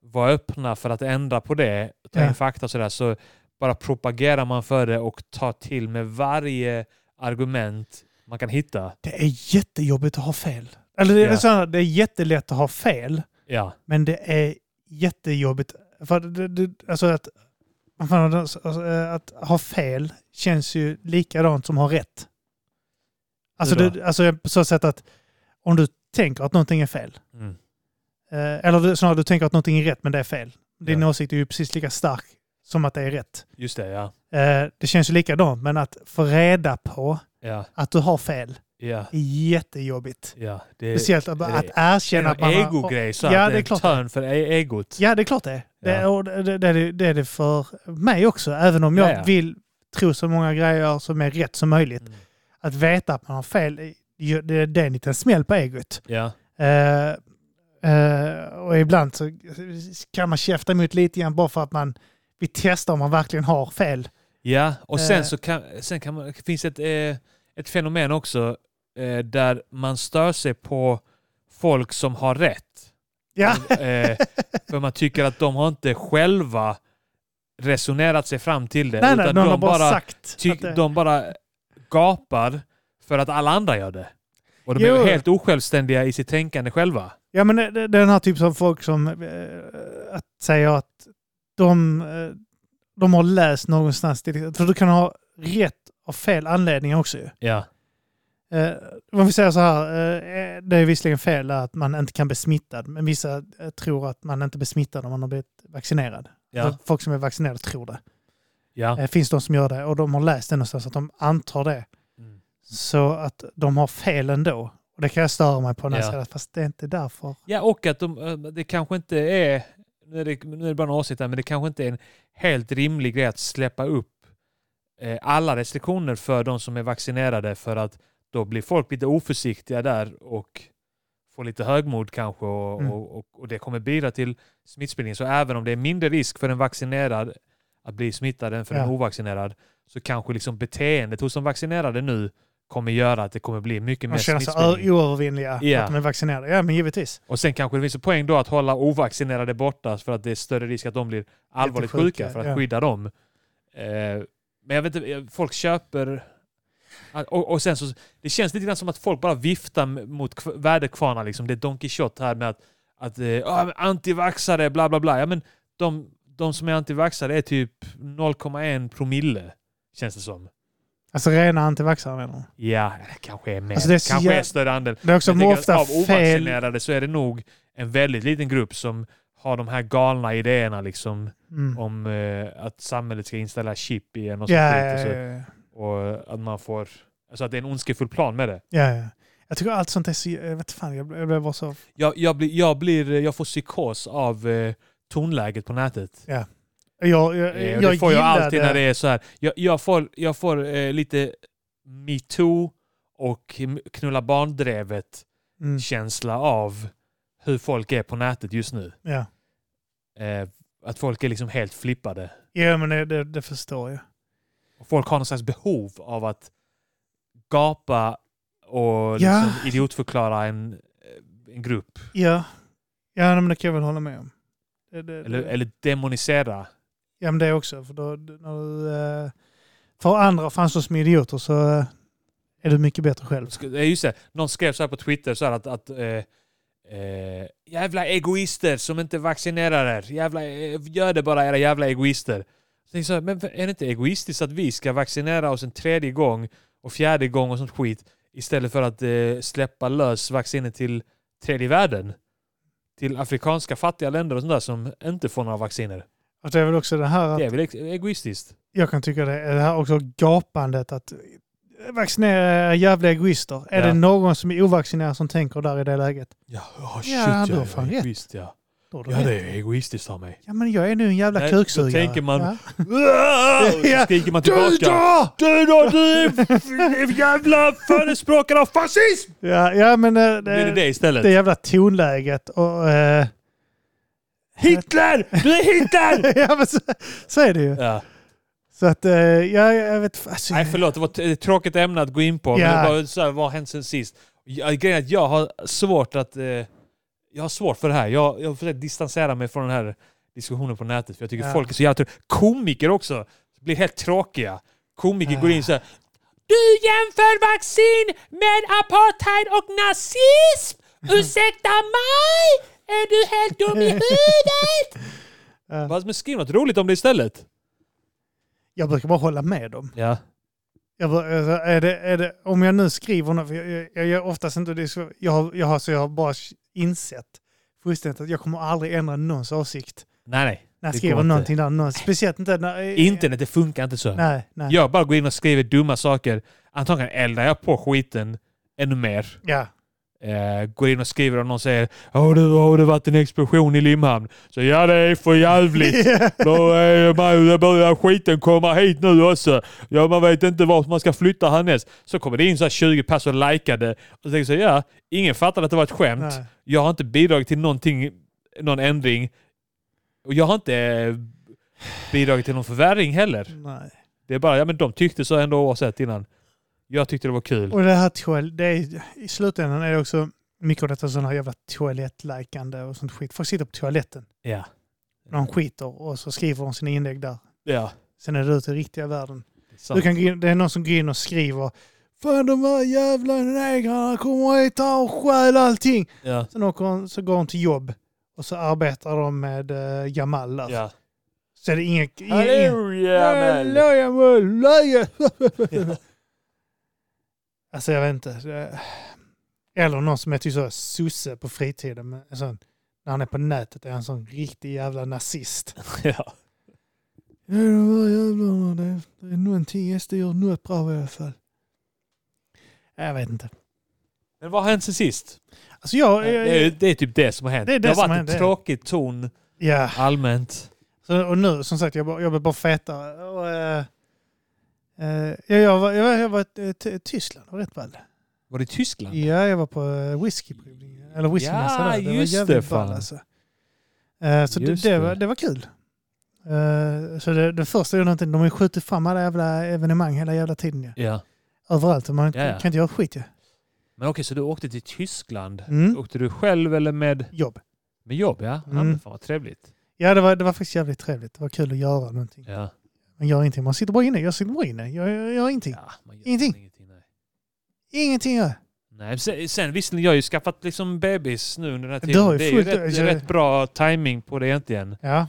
A: vara öppna för att ändra på det, ta
B: Ja.
A: in fakta och sådär, så bara propagerar man för det och tar till med varje argument man kan hitta.
B: det är jättejobbigt att ha fel. Eller det är,
A: Ja.
B: så här, det är jättelätt att ha fel,
A: Ja,
B: men det är jättejobbigt. För det, det, alltså att, vad fan, alltså, eh, att ha fel känns ju likadant som att ha rätt. Alltså,
A: Hur då?
B: det, alltså på så sätt att om du tänker att någonting är fel,
A: mm.
B: Eh, eller du- snarare, du tänker att någonting är rätt men det är fel. Din
A: Ja.
B: åsikt är ju precis lika stark som att det är rätt.
A: just det. Ja,
B: Eh, det känns ju likadant, men att få reda på
A: ja,
B: att du har fel
A: ja.
B: är jättejobbigt.
A: ja. Det är,
B: Speciellt att,
A: det är-
B: att erkänna att
A: det
B: man
A: är en
B: har...
A: ego-grej, så
B: Ja,
A: att
B: det är
A: en
B: klart.
A: törn för e- egot.
B: Ja, det är klart det är. det är.
A: Ja.
B: och Det, det, är det, det är det för mig också, även om jag
A: Ja, ja.
B: vill tro så många grejer som är rätt som möjligt.
A: Mm.
B: Att veta att man har fel, är ju- det det är en liten smäll på egot.
A: Ja,
B: Eh, eh, och ibland så kan man käfta emot lite grann bara för att man vill testa om man verkligen har fel.
A: ja. och sen,
B: Eh.
A: så kan, sen kan man, finns ett, eh, ett fenomen också eh, där man stör sig på folk som har rätt.
B: Ja,
A: Eh, för man tycker att de har inte själva resonerat sig fram till det.
B: nej, nej,
A: utan
B: någon har
A: de,
B: bara,
A: bara
B: sagt.
A: ty-
B: att det-
A: de bara gapar för att alla andra gör det. Och de
B: Jo.
A: är helt osjälvständiga i sitt tänkande själva.
B: Ja, men det- det- den här typen av folk som eh, att säga att de, eh, de har läst någonstans. till- För du kan ha rätt av fel anledningar också ju.
A: Ja,
B: Eh, om vi säger så här, eh, det är visserligen fel att man inte kan bli smittad, men vissa eh, tror att man inte blir smittad om man har blivit vaccinerad. Alltså,
A: ja,
B: Folk som är vaccinerade tror det.
A: ja.
B: Eh, finns de som gör det och de har läst det någonstans att de antar det.
A: Mm.
B: Så att de har fel ändå. Och det kan jag störa mig på när jag
A: Ja.
B: säger att fast det är inte därför.
A: Ja, och att de, eh, det kanske inte är, nu är det, nu är det bara en åsikt här, men det kanske inte är en helt rimlig grej att släppa upp eh, alla restriktioner för de som är vaccinerade för att då blir folk lite oförsiktiga där och får lite högmod kanske och,
B: Mm.
A: och, och, och det kommer bidra till smittspridning. Så även om det är mindre risk för en vaccinerad att bli smittad än för en
B: Ja.
A: ovaccinerad så kanske liksom beteendet hos de vaccinerade nu kommer göra att det kommer bli mycket mer
B: Man känner sig
A: smittspridning.
B: ö- oövervinnliga för
A: Ja.
B: att de är vaccinerade. Ja, men givetvis.
A: Och sen kanske det finns en poäng då att hålla ovaccinerade borta för att det är större risk att de blir allvarligt
B: sjuka,
A: sjuka, för att
B: ja.
A: skydda dem. Eh, men jag vet inte, eh, folk köper... Ah, Och, och sen så, det känns lite grann som att folk bara viftar m- mot kv- väderkvarnar. Liksom. Det är Don Quixote här med att, att eh, "Ah, men antivaxare, bla bla bla. Ja, men de, de som är antivaxare är typ 0,1 promille, känns det som.
B: Alltså rena antivaxxare menar du?
A: Ja, det kanske är mer.
B: Alltså, det är så
A: kanske
B: jä-
A: är större andel.
B: Det är också
A: Jag tänker att
B: ofta
A: av
B: fel.
A: ovaccinerade så är det nog en väldigt liten grupp som har de här galna idéerna liksom
B: Mm.
A: om eh, att samhället ska installa chip igen och
B: Ja,
A: sånt
B: ja,
A: skit och,
B: ja,
A: så,
B: ja,
A: och att man får... Alltså att det är en ondskefull plan med det.
B: ja, ja. Jag tycker allt sånt är så... Jag vet fan, jag blev jag blev bara så...
A: Jag, jag, blir, jag, blir, jag får psykos av eh, tonläget på nätet.
B: Jag, jag, jag,
A: Eh,
B: jag
A: det får jag alltid
B: gillade-
A: när det är så här. Jag, jag får, jag får eh, lite metoo och knulla barndrevet-känsla
B: Mm,
A: av hur folk är på nätet just nu.
B: ja.
A: Eh, att folk är liksom helt flippade.
B: ja, men det, det, det förstår jag.
A: Och folk har någon slags behov av att gapa och
B: Ja.
A: liksom idiotförklara en, eh, en grupp.
B: Ja, ja men det kan jag väl hålla med om. Det, det,
A: Eller,
B: det-
A: eller demonisera.
B: Ja, men det också. För, då, när du, eh, för andra fanns som idioter så eh, är du mycket bättre själv.
A: Sk- eh, Just det. Någon skrev så här på Twitter så här att, att eh, Eh, jävla egoister som inte vaccinerar er. Jävla, eh, gör det bara era jävla egoister. Så jag så här, men är det inte egoistiskt att vi ska vaccinera oss en tredje gång och fjärde gång och sånt skit istället för att eh, släppa lös vaccinet till tredje världen? Till afrikanska fattiga länder och sånt där som inte får några vacciner.
B: Och Alltså, det är väl också det här att
A: Det är väl ex- egoistiskt?
B: jag kan tycka det, är det här också gapandet att eh, vaccinera era jävla egoister. Är
A: Ja.
B: det någon som är ovaccinerad som tänker där i det läget?
A: Ja, oh,
B: shit, Ja, du jag har är fan rätt.
A: egoist ja.
B: Då har du
A: Ja,
B: rätt.
A: det är egoistiskt av mig.
B: ja, men jag är nu en jävla
A: Nej, då
B: kuksugare.
A: tänker man-
B: Ja.
A: Så skriker man
B: Du
A: tillbaka.
B: då!
A: Du då, du är jävla förespråkare av fascism!
B: Ja, ja men eh, det,
A: Det är det det
B: det
A: istället.
B: jävla tonläget och... eh,
A: Hitler! Du är Hitler!
B: ja, men så, så är det ju.
A: Ja.
B: Så att, eh, ja, jag vet... Alltså,
A: Nej, förlåt. Det var ett ett tråkigt ämne att gå in på.
B: Ja.
A: Men det var så här, vad har hänt sen sist? Ja, Grejen är att jag har svårt att... Eh, jag har svårt för det här. Jag, jag har försökt distansera mig från den här diskussionen på nätet. För jag tycker
B: Ja.
A: folk är så jävla trö- Komiker också blir helt tråkiga. Komiker
B: Ja.
A: går in så här. Du jämför vaccin med apartheid och nazism! Ursäkta mig! Är du helt dum i huvudet?
B: Ja.
A: Vad- Men skriv något roligt om det istället.
B: Jag brukar bara hålla med dem.
A: Ja.
B: Jag, bör- alltså, är det, är det, om jag nu skriver något, för jag, jag, jag gör oftast inte det, så jag, har- jag, har, så jag har bara insett fullständigt att jag kommer aldrig ändra någons åsikt
A: Nej, nej.
B: när jag
A: Det
B: skriver
A: går inte.
B: någonting där. Någon, speciellt inte när... eh,
A: Internet, det funkar inte så.
B: Nej, nej.
A: Jag bara går in och skriver dumma saker. Antagligen eldar jag på skiten ännu mer.
B: Ja.
A: Eh, går in och skriver och någon säger Har det, har det varit en explosion i Limhamn? Så ja, det är för jävligt. Då är man, då börjar skiten komma hit nu också. Ja, man vet inte vart man ska flytta härnäst. Så kommer det in så här 20 personer och likade. Och så tänker jag så här, ja, ingen fattade att det var ett skämt.
B: nej.
A: Jag har inte bidragit till någonting, någon ändring. Och jag har inte eh, bidragit till någon förvärring heller.
B: nej.
A: Det är bara, ja men de tyckte så ändå oavsett innan. Jag tyckte det var kul.
B: Och det här toal, det är, i slutändan är det också mycket av detta sådana här jävla toalettlikande och sånt skit. Folk sitter på toaletten
A: Ja.
B: någon skiter och så skriver de sina inlägg där.
A: Ja.
B: Sen är det ute i riktiga världen.
A: det är sant.
B: Du kan, gå in- det är någon som går in och skriver Fan de här jävla negrarna kommer hit här och stjäl allting.
A: Ja.
B: Sen åker hon, så går hon till jobb och så arbetar de med uh, Jamal där.
A: Ja.
B: Så är det ingen... ingen
A: Hallå Jamel!
B: Hallå, Jamal! Löje! Alltså jag vet inte. Det- Eller någon som är typ så sosse på fritiden. Men en sån, när han är på nätet är han en sån riktig jävla nazist.
A: Ja.
B: Ja, de här jävlarna, det är, det är någonting SD gör något bra i alla fall. Jag vet inte.
A: Men vad har hänt sen sist?
B: Alltså jag...
A: Det är, det är typ det som har hänt.
B: Det
A: Det,
B: är det
A: har
B: som
A: varit
B: har
A: en
B: hänt, det.
A: tråkig ton
B: ja.
A: allmänt.
B: Så, och nu, som sagt, jag, bara- jag blir bara fetare. Och, eh, eh, ja, jag var, jag var, jag var eh, t- Tyskland och rätt väl.
A: Var det i Tyskland?
B: Ja, jag var på eh, whiskyprovning. Eller whiskymässa
A: Ja,
B: där. Det var
A: just det,
B: jävligt
A: fan.
B: ball alltså. Eh, så det,
A: Just
B: det,
A: det.
B: var, det var kul. Eh, så det, det första gjorde någonting. De har ju skjutit fram alla jävla evenemang hela jävla tiden ju.
A: Ja.
B: Överallt. och Man
A: Ja, ja.
B: kan inte göra skit ju.
A: Men okej, så du åkte till Tyskland.
B: Mm.
A: Åkte du själv eller med,
B: Jobb.
A: med jobb? Ja. ja
B: Mm.
A: men fan vad trevligt.
B: Ja, det var, det var faktiskt jävligt trevligt. Det var kul att göra någonting.
A: Ja.
B: Man gör ingenting. Man sitter bara inne. Jag sitter bara inne. Jag, jag gör ingenting.
A: ja man gör
B: Ingenting.
A: ingenting nej.
B: Ingenting gör jag.
A: Nej, sen, sen visserligen, jag har ju skaffat liksom bebis nu under den här
B: Du
A: tiden.
B: har
A: Det,
B: ju
A: är ju
B: fullt-
A: rätt,
B: jag-
A: rätt bra timing på det egentligen.
B: Ja.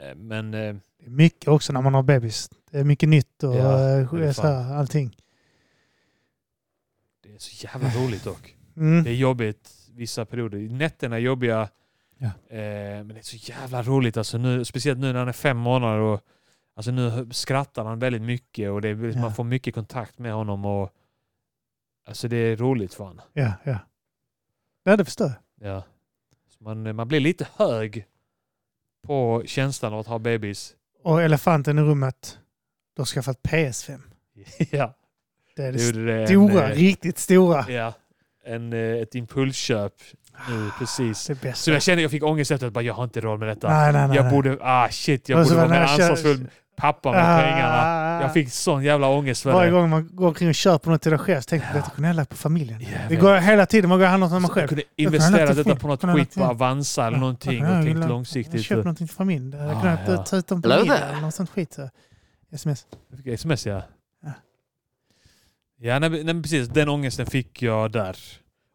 A: Eh, Men eh,
B: Det är mycket också när man har bebis. Det är mycket nytt och
A: Ja,
B: eh,
A: det är
B: så här, allting.
A: det är så jävla roligt dock.
B: Mm.
A: Det är jobbigt vissa perioder. Nätterna är jobbiga.
B: Ja.
A: Eh, men det är så jävla roligt. Alltså nu, speciellt nu när han är fem månader. Och, alltså nu skrattar han väldigt mycket och det, är-
B: Ja.
A: man får mycket kontakt med honom. Och, alltså det är roligt för honom.
B: Ja, ja. Ja, det förstår jag.
A: Ja. Så man, man blir lite hög på känslan av att ha bebis.
B: Och elefanten i rummet. Du har skaffat PS5.
A: ja.
B: Det är det
A: Det gjorde det en,
B: stora,
A: eh,
B: riktigt stora.
A: Ja, en, eh, ett impulsköp nu precis.
B: Det bästa.
A: Så jag kände jag fick ångest efter att bara, jag har inte råd med detta.
B: nej, nej, nej.
A: jag
B: nej.
A: borde, ah shit, jag
B: Och så
A: borde vara mer
B: var den här kö-
A: ansvarsfull pappa med
B: Ah.
A: pengarna. Jag fick sån jävla ångest för
B: Varje
A: det.
B: gång man går omkring och köper något till dig själv så tänker man
A: Ja.
B: detta kunde jag lagt på familjen.
A: Ja, jag
B: det
A: vet.
B: går hela tiden, man går och handlar något när man
A: Så jag
B: själv.
A: kunde
B: Jag
A: investera
B: kunde
A: detta
B: inte
A: på något
B: få-
A: skit på
B: kunde inte-
A: Avanza eller
B: Ja,
A: någonting
B: jag kunde
A: och tänkt
B: inte- Jag
A: långsiktigt.
B: köpte någonting till familjen. Jag
A: Ah,
B: kunde
A: ja.
B: ta ut dem på
D: Hello
B: middag
D: there.
B: eller något sånt skit. Så. Sms.
A: Jag fick sms ja.
B: Ja.
A: Ja, nej, men- nej, men precis. Den ångesten fick jag där.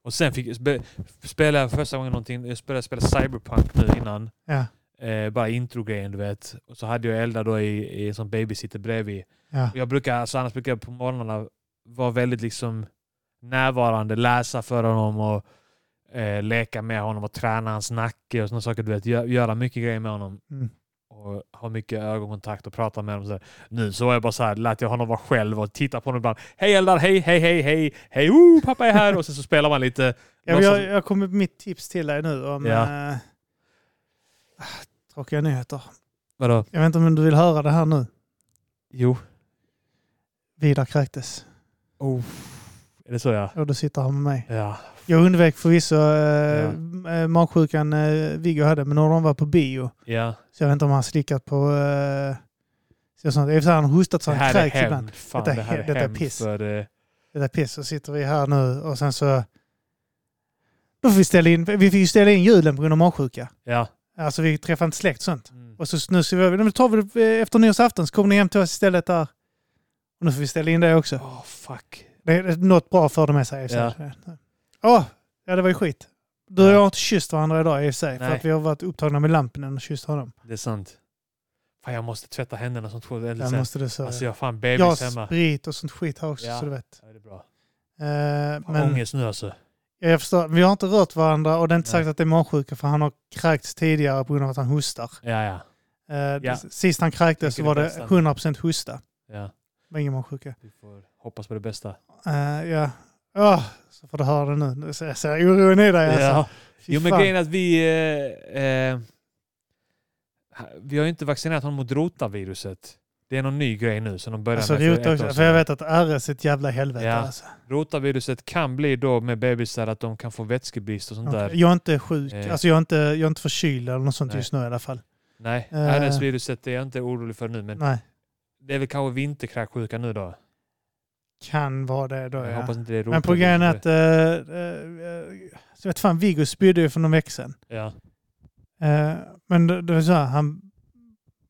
A: Och sen fick, spe, spelade jag första gången någonting, jag spelade, spelade Cyberpunk nu innan.
B: Ja,
A: Eh, bara introgrejen du vet. Och så hade jag Elda då i, i en sån babysitter bredvid.
B: ja,
A: Och Jag brukar, alltså annars brukar jag på morgnarna vara väldigt liksom närvarande, läsa för honom och eh, leka med honom och träna hans nacke och sådana saker. Du vet, gö- göra mycket grejer med honom
B: mm.
A: och ha mycket ögonkontakt och prata med honom. Så här. Nu så var jag bara så här, lät jag honom vara själv och titta på honom ibland. Hej Eldar, hej, hej, hej, hej, hej, woo, pappa är här! Och sen så spelar man lite.
B: ja men
A: Någon
B: jag,
A: som-
B: jag kommer med mitt tips till dig nu om...
A: Ja.
B: eh, Tråkiga nyheter.
A: Vadå?
B: Jag vet inte om du vill höra det här nu.
A: Jo.
B: Vidar kräktes.
A: Oh. Är det så ja?
B: Och då sitter han med mig.
A: Ja.
B: Jag undvek förvisso eh,
A: Ja.
B: m- eh, magsjukan eh, Viggo hade, men när de var på bio.
A: Ja.
B: Så jag vet inte om han slickat på... Eh, så sånt. I och för sig har han hostat så
A: det
B: han
A: här är
B: kräks ibland.
A: hämnd. Fan,
B: Detta är
A: det här är
B: he- detta är
A: hämnd
B: piss.
A: för... eh,
B: Det där piss. Så sitter vi här nu och sen så... Då får vi ställa in... Vi fick ju ställa in julen på grund av magsjuka.
A: ja.
B: Alltså vi träffade inte släkt och sånt.
A: Mm.
B: Och så nu så vi, nu tar vi det eh, efter nyårsafton så kommer ni hem till oss istället där. Och nu får vi ställa in det också.
A: Oh, fuck.
B: Det är något bra för det med sig. Ja. Åh, ja det var ju skit. Du och
A: Ja.
B: jag har inte kysst varandra idag i och för sig. För
A: Nej.
B: att vi har varit upptagna med lampen och kysst honom.
A: Det är sant. Fan, jag måste tvätta händerna som två eller
B: Där
A: sen.
B: måste du så.
A: Alltså jag har fan
B: jag
A: bebis
B: har
A: hemma.
B: sprit och sånt skit här också
A: Ja.
B: så du vet.
A: Ja, det är bra.
B: Eh,
A: Fan,
B: men
A: Ångest nu alltså.
B: jag, jag förstår, vi har inte rört varandra och det är inte
A: Nej.
B: sagt att det är magsjuka för han har kräkts tidigare på grund av att han hostar.
A: Ja, ja.
B: Eh,
A: Ja.
B: Sist han kräktes så
A: Tänker
B: var
A: det
B: det
A: bästa.
B: 100% hosta.
A: ja.
B: Men ingen magsjuka.
A: Vi får hoppas på det bästa.
B: Eh, ja. Åh, så får du höra det nu. Så jag ser oron i dig alltså.
A: Ja.
B: Fy
A: Jo men
B: fan.
A: grejen är att vi... Eh, eh, vi har ju inte vaccinerat honom mot rotaviruset. Det är någon ny grej nu som de började
B: Alltså
A: med.
B: rota
A: ett år
B: också, för jag
A: sedan.
B: vet att RS är ett jävla helvete
A: Ja.
B: alltså.
A: Rotaviruset kan bli då med bebisar att de kan få vätskebrist och sånt
B: Okej.
A: där.
B: Jag är inte sjuk,
A: Eh.
B: alltså jag är inte, jag är inte förkyld eller något sånt
A: Nej.
B: just nu i alla fall.
A: Nej,
B: Eh.
A: RS-viruset är jag inte orolig för nu men
B: Nej,
A: det är väl kanske vinterkräksjuka nu då.
B: kan vara det då
A: Jag
B: ja.
A: hoppas inte det är
B: Men på grejen är
A: rotaviruset.
B: att, eh, eh, så vet fan, Viggo spydde ju för någon vecka sedan.
A: Ja,
B: Eh, men det, det var så här, han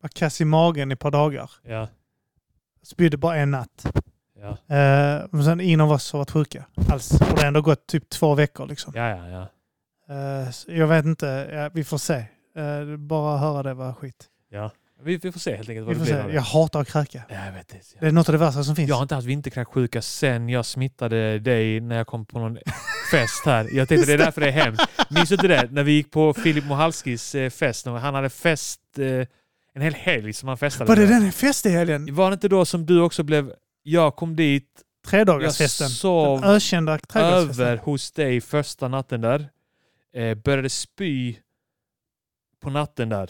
B: var kass i magen i ett par dagar.
A: ja,
B: Spydde bara en natt.
A: ja.
B: Eh, men sen ingen av oss har varit sjuka alls. Och det har ändå gått typ två veckor liksom.
A: Ja, ja, ja.
B: Eh, så jag vet inte, ja, vi får se. Eh, bara höra det var skit.
A: ja. Vi, vi får se helt enkelt vad
B: Vi
A: det
B: får
A: blir.
B: se.
A: av det.
B: Jag hatar att kräka.
A: Ja, jag vet inte.
B: Det är något av det värsta som finns.
A: Jag har inte haft vinterkräksjuka sen jag smittade dig när jag kom på någon fest här. Jag tänkte det är därför det är hemskt. Minns du inte det? När vi gick på Filip Mohalskis eh, fest. när Han hade fest eh, en hel helg som han festade.
B: Var det
A: med.
B: den fest i helgen?
A: Var det inte då som du också blev... Jag kom dit, jag
B: Tredagarsfesten. Den
A: sov
B: ökända trädgårdsfesten.
A: över hos dig första natten där. Eh, började spy på natten där.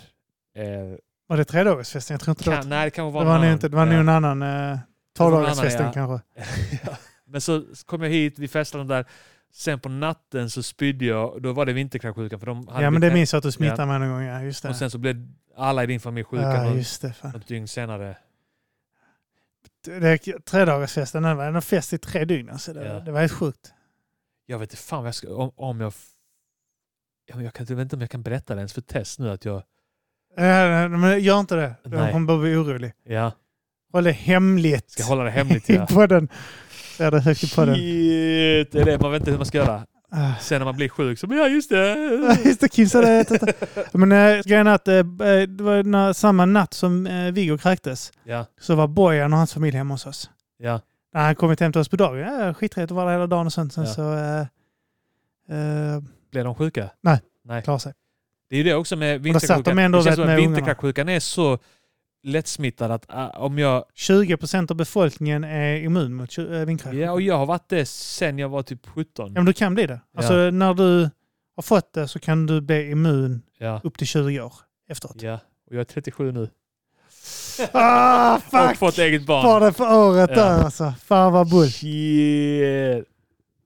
A: Eh,
B: Var det tredagarsfesten? Jag tror inte det var.
A: kan, nej, det kanske var
B: Det var
A: någon
B: nog
A: annan.
B: inte. Det var nog
A: Ja.
B: en annan. Eh,
A: var någon
B: Tolvdagarsfesten
A: annan,
B: kanske.
A: Men så kom jag hit, vi festade där. Sen på natten så spydde jag, då var det vinterkräksjukan. För de hade
B: Ja men det
A: blivit-
B: minns jag att du smittade mig någon gång. Ja just det.
A: Och sen så blev alla i din familj sjuka
B: ja,
A: något,
B: just det. Fan.
A: något dygn senare.
B: det tredagarsfesten, den var en fest i tre dygn. Alltså. Det,
A: Ja.
B: det var helt sjukt.
A: Jag vet inte fan vad jag ska, om, om jag... f- Ja, men jag, kan, jag vet inte om jag kan berätta det ens för Tess nu att jag...
B: Eh, nej, men gör inte det.
A: Nej.
B: Hon börjar bli orolig.
A: Ja,
B: Håll det hemligt.
A: ska hålla det hemligt.
B: I
A: Ja.
B: podden. Säger det högt i podden.
A: Shit, det är det man vet inte hur man ska göra.
B: Ah.
A: Sen när man blir sjuk så bara, ja just
B: Ja,
A: det.
B: Just det, Kim sa det. Titta. Men äh, grejen är att eh, det var när, samma natt som äh, Viggo kräktes
A: Ja,
B: så var Bojan och hans familj hemma hos oss.
A: ja,
B: När han kommit hem till oss på dagen, ja, skiträtt att vara där hela dagen och sånt. Sen
A: Ja.
B: så äh, äh,
A: blev de sjuka?
B: klarade sig.
A: Det är ju det också med
B: då satt de
A: vinterkräksjukan.
B: ändå
A: Det
B: vet
A: känns som
B: med
A: att
B: ungarna.
A: vinterkräksjukan är så lättsmittad att ah, om jag
B: 20 procent av befolkningen är immun mot äh, vindkräksjuka.
A: Ja, och jag har varit det sen jag var typ 17.
B: Ja, men du kan bli det. Alltså när du har fått det så kan du bli immun
A: Ja,
B: upp till 20 år efteråt.
A: ja. Och jag är 37 nu.
B: Ah,
A: Och
B: fuck!
A: fått eget
B: Var
A: barn.
B: det för året
A: Ja.
B: där alltså. Fan vad bull.
A: Shit.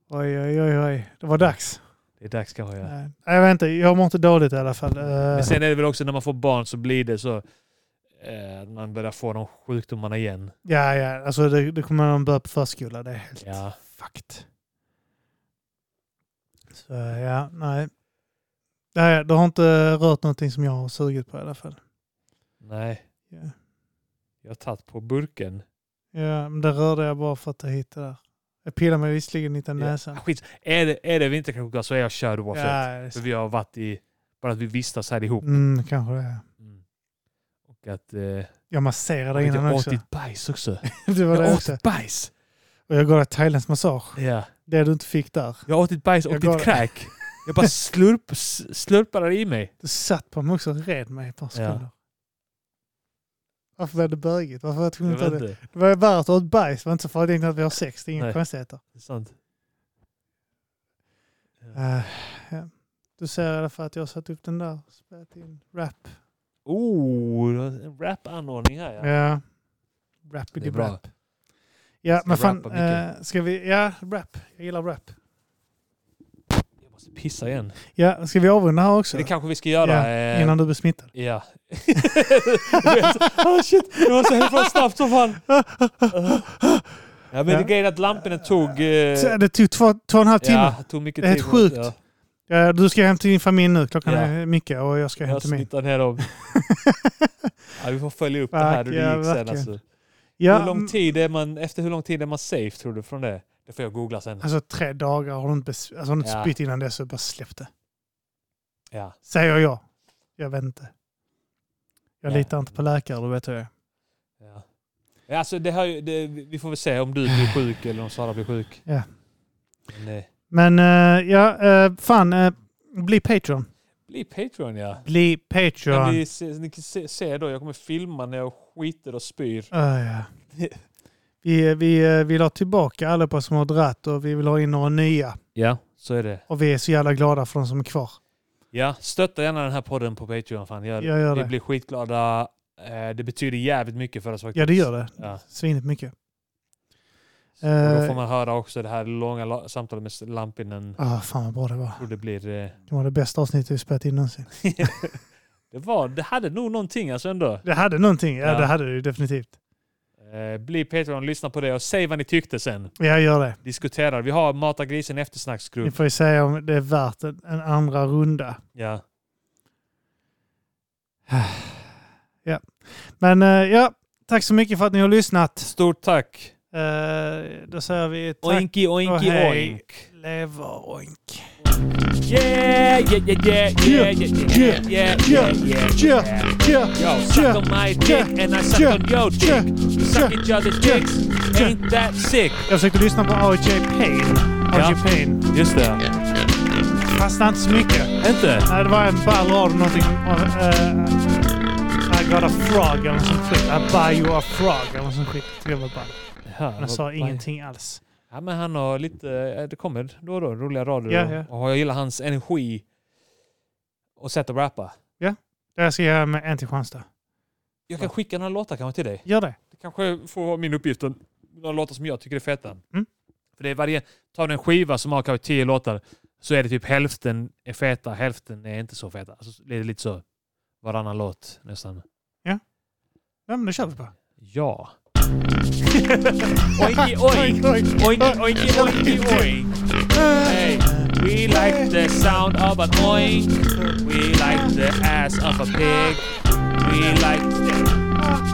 B: Oj, oj, oj, oj. Det var dags.
A: Det är dags kanske. Ja.
B: Nej, jag vet inte. Jag mår inte dåligt i alla fall. Eh,
A: Men sen är det väl också när man får barn så blir det så eh, att man börjar få de sjukdomarna igen.
B: ja, ja. Alltså, det, det kommer att börja på förskola. Det är helt
A: Ja.
B: fucked. Så ja, nej. Nej, du har inte rört någonting som jag har sugit på i alla fall.
A: Nej,
B: Ja,
A: jag har tagit på burken.
B: ja men det rörde jag bara för att ta hit det där. Jag pillade mig visserligen lite i näsan.
A: Ja, Ah, skit. Är det, är det vinterkräksjuka så är jag körd
B: Ja,
A: oavsett.
B: det är
A: För
B: sant.
A: vi har varit i, bara att vi vistas här ihop.
B: mm, kanske det.
A: Mm. Och att... Eh,
B: Jag masserade
A: jag
B: innan
A: har
B: också.
A: åt ditt bajs också.
B: Det var
A: Jag
B: det
A: har
B: också.
A: åt bajs!
B: Och jag gav dig thailändsk massage.
A: Ja.
B: Det du inte fick där.
A: Jag åt ditt bajs och
B: Jag
A: ditt
B: går-
A: kräk. Jag bara slurp, s- slurpade det i mig.
B: Du satt på mig också och red mig ett par sekunder. Varför blev det bögigt? Varför var jag tvungen
A: Jag
B: att ta
A: vet
B: det?
A: inte.
B: Det var ju värt att ha ett bajs. Det var inte så farligt egentligen att vi har sex. Det är inga
A: Nej.
B: konstigheter.
A: Det är sant.
B: Eh, ja. Du ser i alla fall att jag har satt upp den där. Spelat in rap.
A: Oh, en rap-anordning här ja.
B: Ja. Rappity rap. Ja,
A: Ska
B: men fan.
A: rappa mycket.
B: Eh, ska vi... Ja, rap. Jag gillar rap.
A: Jag måste pissa igen.
B: Ja, ska vi avrunda här också?
A: Det kanske vi ska göra.
B: Ja,
A: eh,
B: Innan du blir smittad.
A: Ja. Du vet, oh shit, det var så himla snabbt som fan. Ja, men
B: Ja.
A: det grejen är att lamporna tog... eh,
B: Så Det tog två, två och en halv timme.
A: Ja, tog mycket
B: Det är helt
A: tid.
B: sjukt.
A: Ja.
B: Ja. Du ska hämta din familj nu. Klockan
A: Ja.
B: är mycket och jag ska
A: Jag
B: hämta min.
A: smittar ner dem. Ja, vi får följa upp det här hur
B: Verkligen,
A: det gick sen.
B: verkligen.
A: Alltså.
B: Ja, mm.
A: Hur lång tid är man, efter hur lång tid är man safe tror du från det? Det får jag googla sen.
B: Alltså tre dagar har du inte, bes- alltså, har du inte
A: Ja.
B: spytt innan det så bara släpp det.
A: Ja.
B: Säger jag. Jag vet inte. Jag
A: Ja.
B: litar inte på läkare, du vet hur jag är.
A: Ja. Ja, Alltså det här, ju- det, vi får väl se om du blir sjuk eller om Sara blir sjuk.
B: Ja.
A: Men, eh,
B: Men eh, ja, eh, fan. eh, bli Patreon.
A: bli Patreon ja.
B: Bli
A: Kan
B: Patreon.
A: ni, se, ni kan se, se då, jag kommer filma när jag skiter och spyr.
B: Ah, ja. Vi, vi eh, vill ha tillbaka alla på som har dratt och vi vill ha in några nya.
A: Ja, så är det.
B: Och vi är så jävla glada för de som är kvar.
A: Ja, stötta gärna den här podden på Patreon. Fan. Gör,
B: Jag gör
A: vi
B: det.
A: blir skitglada. Eh, Det betyder jävligt mycket för oss faktiskt.
B: Ja, det gör det.
A: Ja.
B: Svinigt mycket.
A: Och
B: Eh.
A: då får man höra också det här långa la- samtalet med Lampinen.
B: Ah, fan vad bra det var.
A: Jag tror det blir... eh,
B: Det var det bästa avsnittet vi spelat in någonsin.
A: Det, var, det hade nog någonting alltså ändå.
B: Det hade någonting. Ja,
A: Ja.
B: det hade det ju definitivt.
A: Eh, Bli Patreon, lyssna på det och säg vad ni tyckte sen.
B: Ja, gör det.
A: Diskutera. Vi har Mata grisen
B: Ni
A: eftersnacksgrupp.
B: får ju säga om det är värt en, en andra runda.
A: Ja.
B: Men eh, ja, tack så mycket för att ni har lyssnat.
A: Stort tack.
B: Eh, då säger vi tack.
A: Oinki,
B: och
A: oinki,
B: hej.
A: oink.
B: Lever oink.
A: Yeah, yeah, yeah, yeah, yeah, yeah, yeah, yeah, yeah, yeah,
B: Yeah,
A: yeah.
B: yeah,
A: Yo, suck on my dick and I suck
B: yeah,
A: on your
B: yeah,
A: dick. We suck each other's dicks.
B: yeah.
A: Ain't that sick?
B: Jag försökte lyssna på AJ Payne. AJ
A: Ja.
B: Payne.
A: Just det.
B: Fastnade inte så mycket.
A: Inte?
B: Nej, det var en ball rad om någonting. Uh, I got a frog eller något sånt skit. I buy you a frog eller något sånt skit. Det var ball.
A: Ja,
B: Men jag sa ingenting alls.
A: Ja, men han har lite... eh, Det kommer då och då roliga rader.
B: Ja, ja.
A: Och jag gillar hans energi och sätt att rappa.
B: Det här ska jag göra med en till Kristianstad.
A: Jag kan skicka några låtar kanske till dig.
B: Gör det.
A: Det kanske får vara min uppgift. att- Några låtar som jag tycker är feta.
B: Mm.
A: För det är varje... Tar du en skiva som har kanske tio låtar så är det typ hälften är feta, hälften är inte så feta. Alltså, det är lite så. Varannan låt nästan.
B: Ja, men det kör vi på.
A: Ja. oinki, oink. Oinki, oinki, oinki, oink. Hey, we like the sound of an oink. We like the ass of a pig. We like...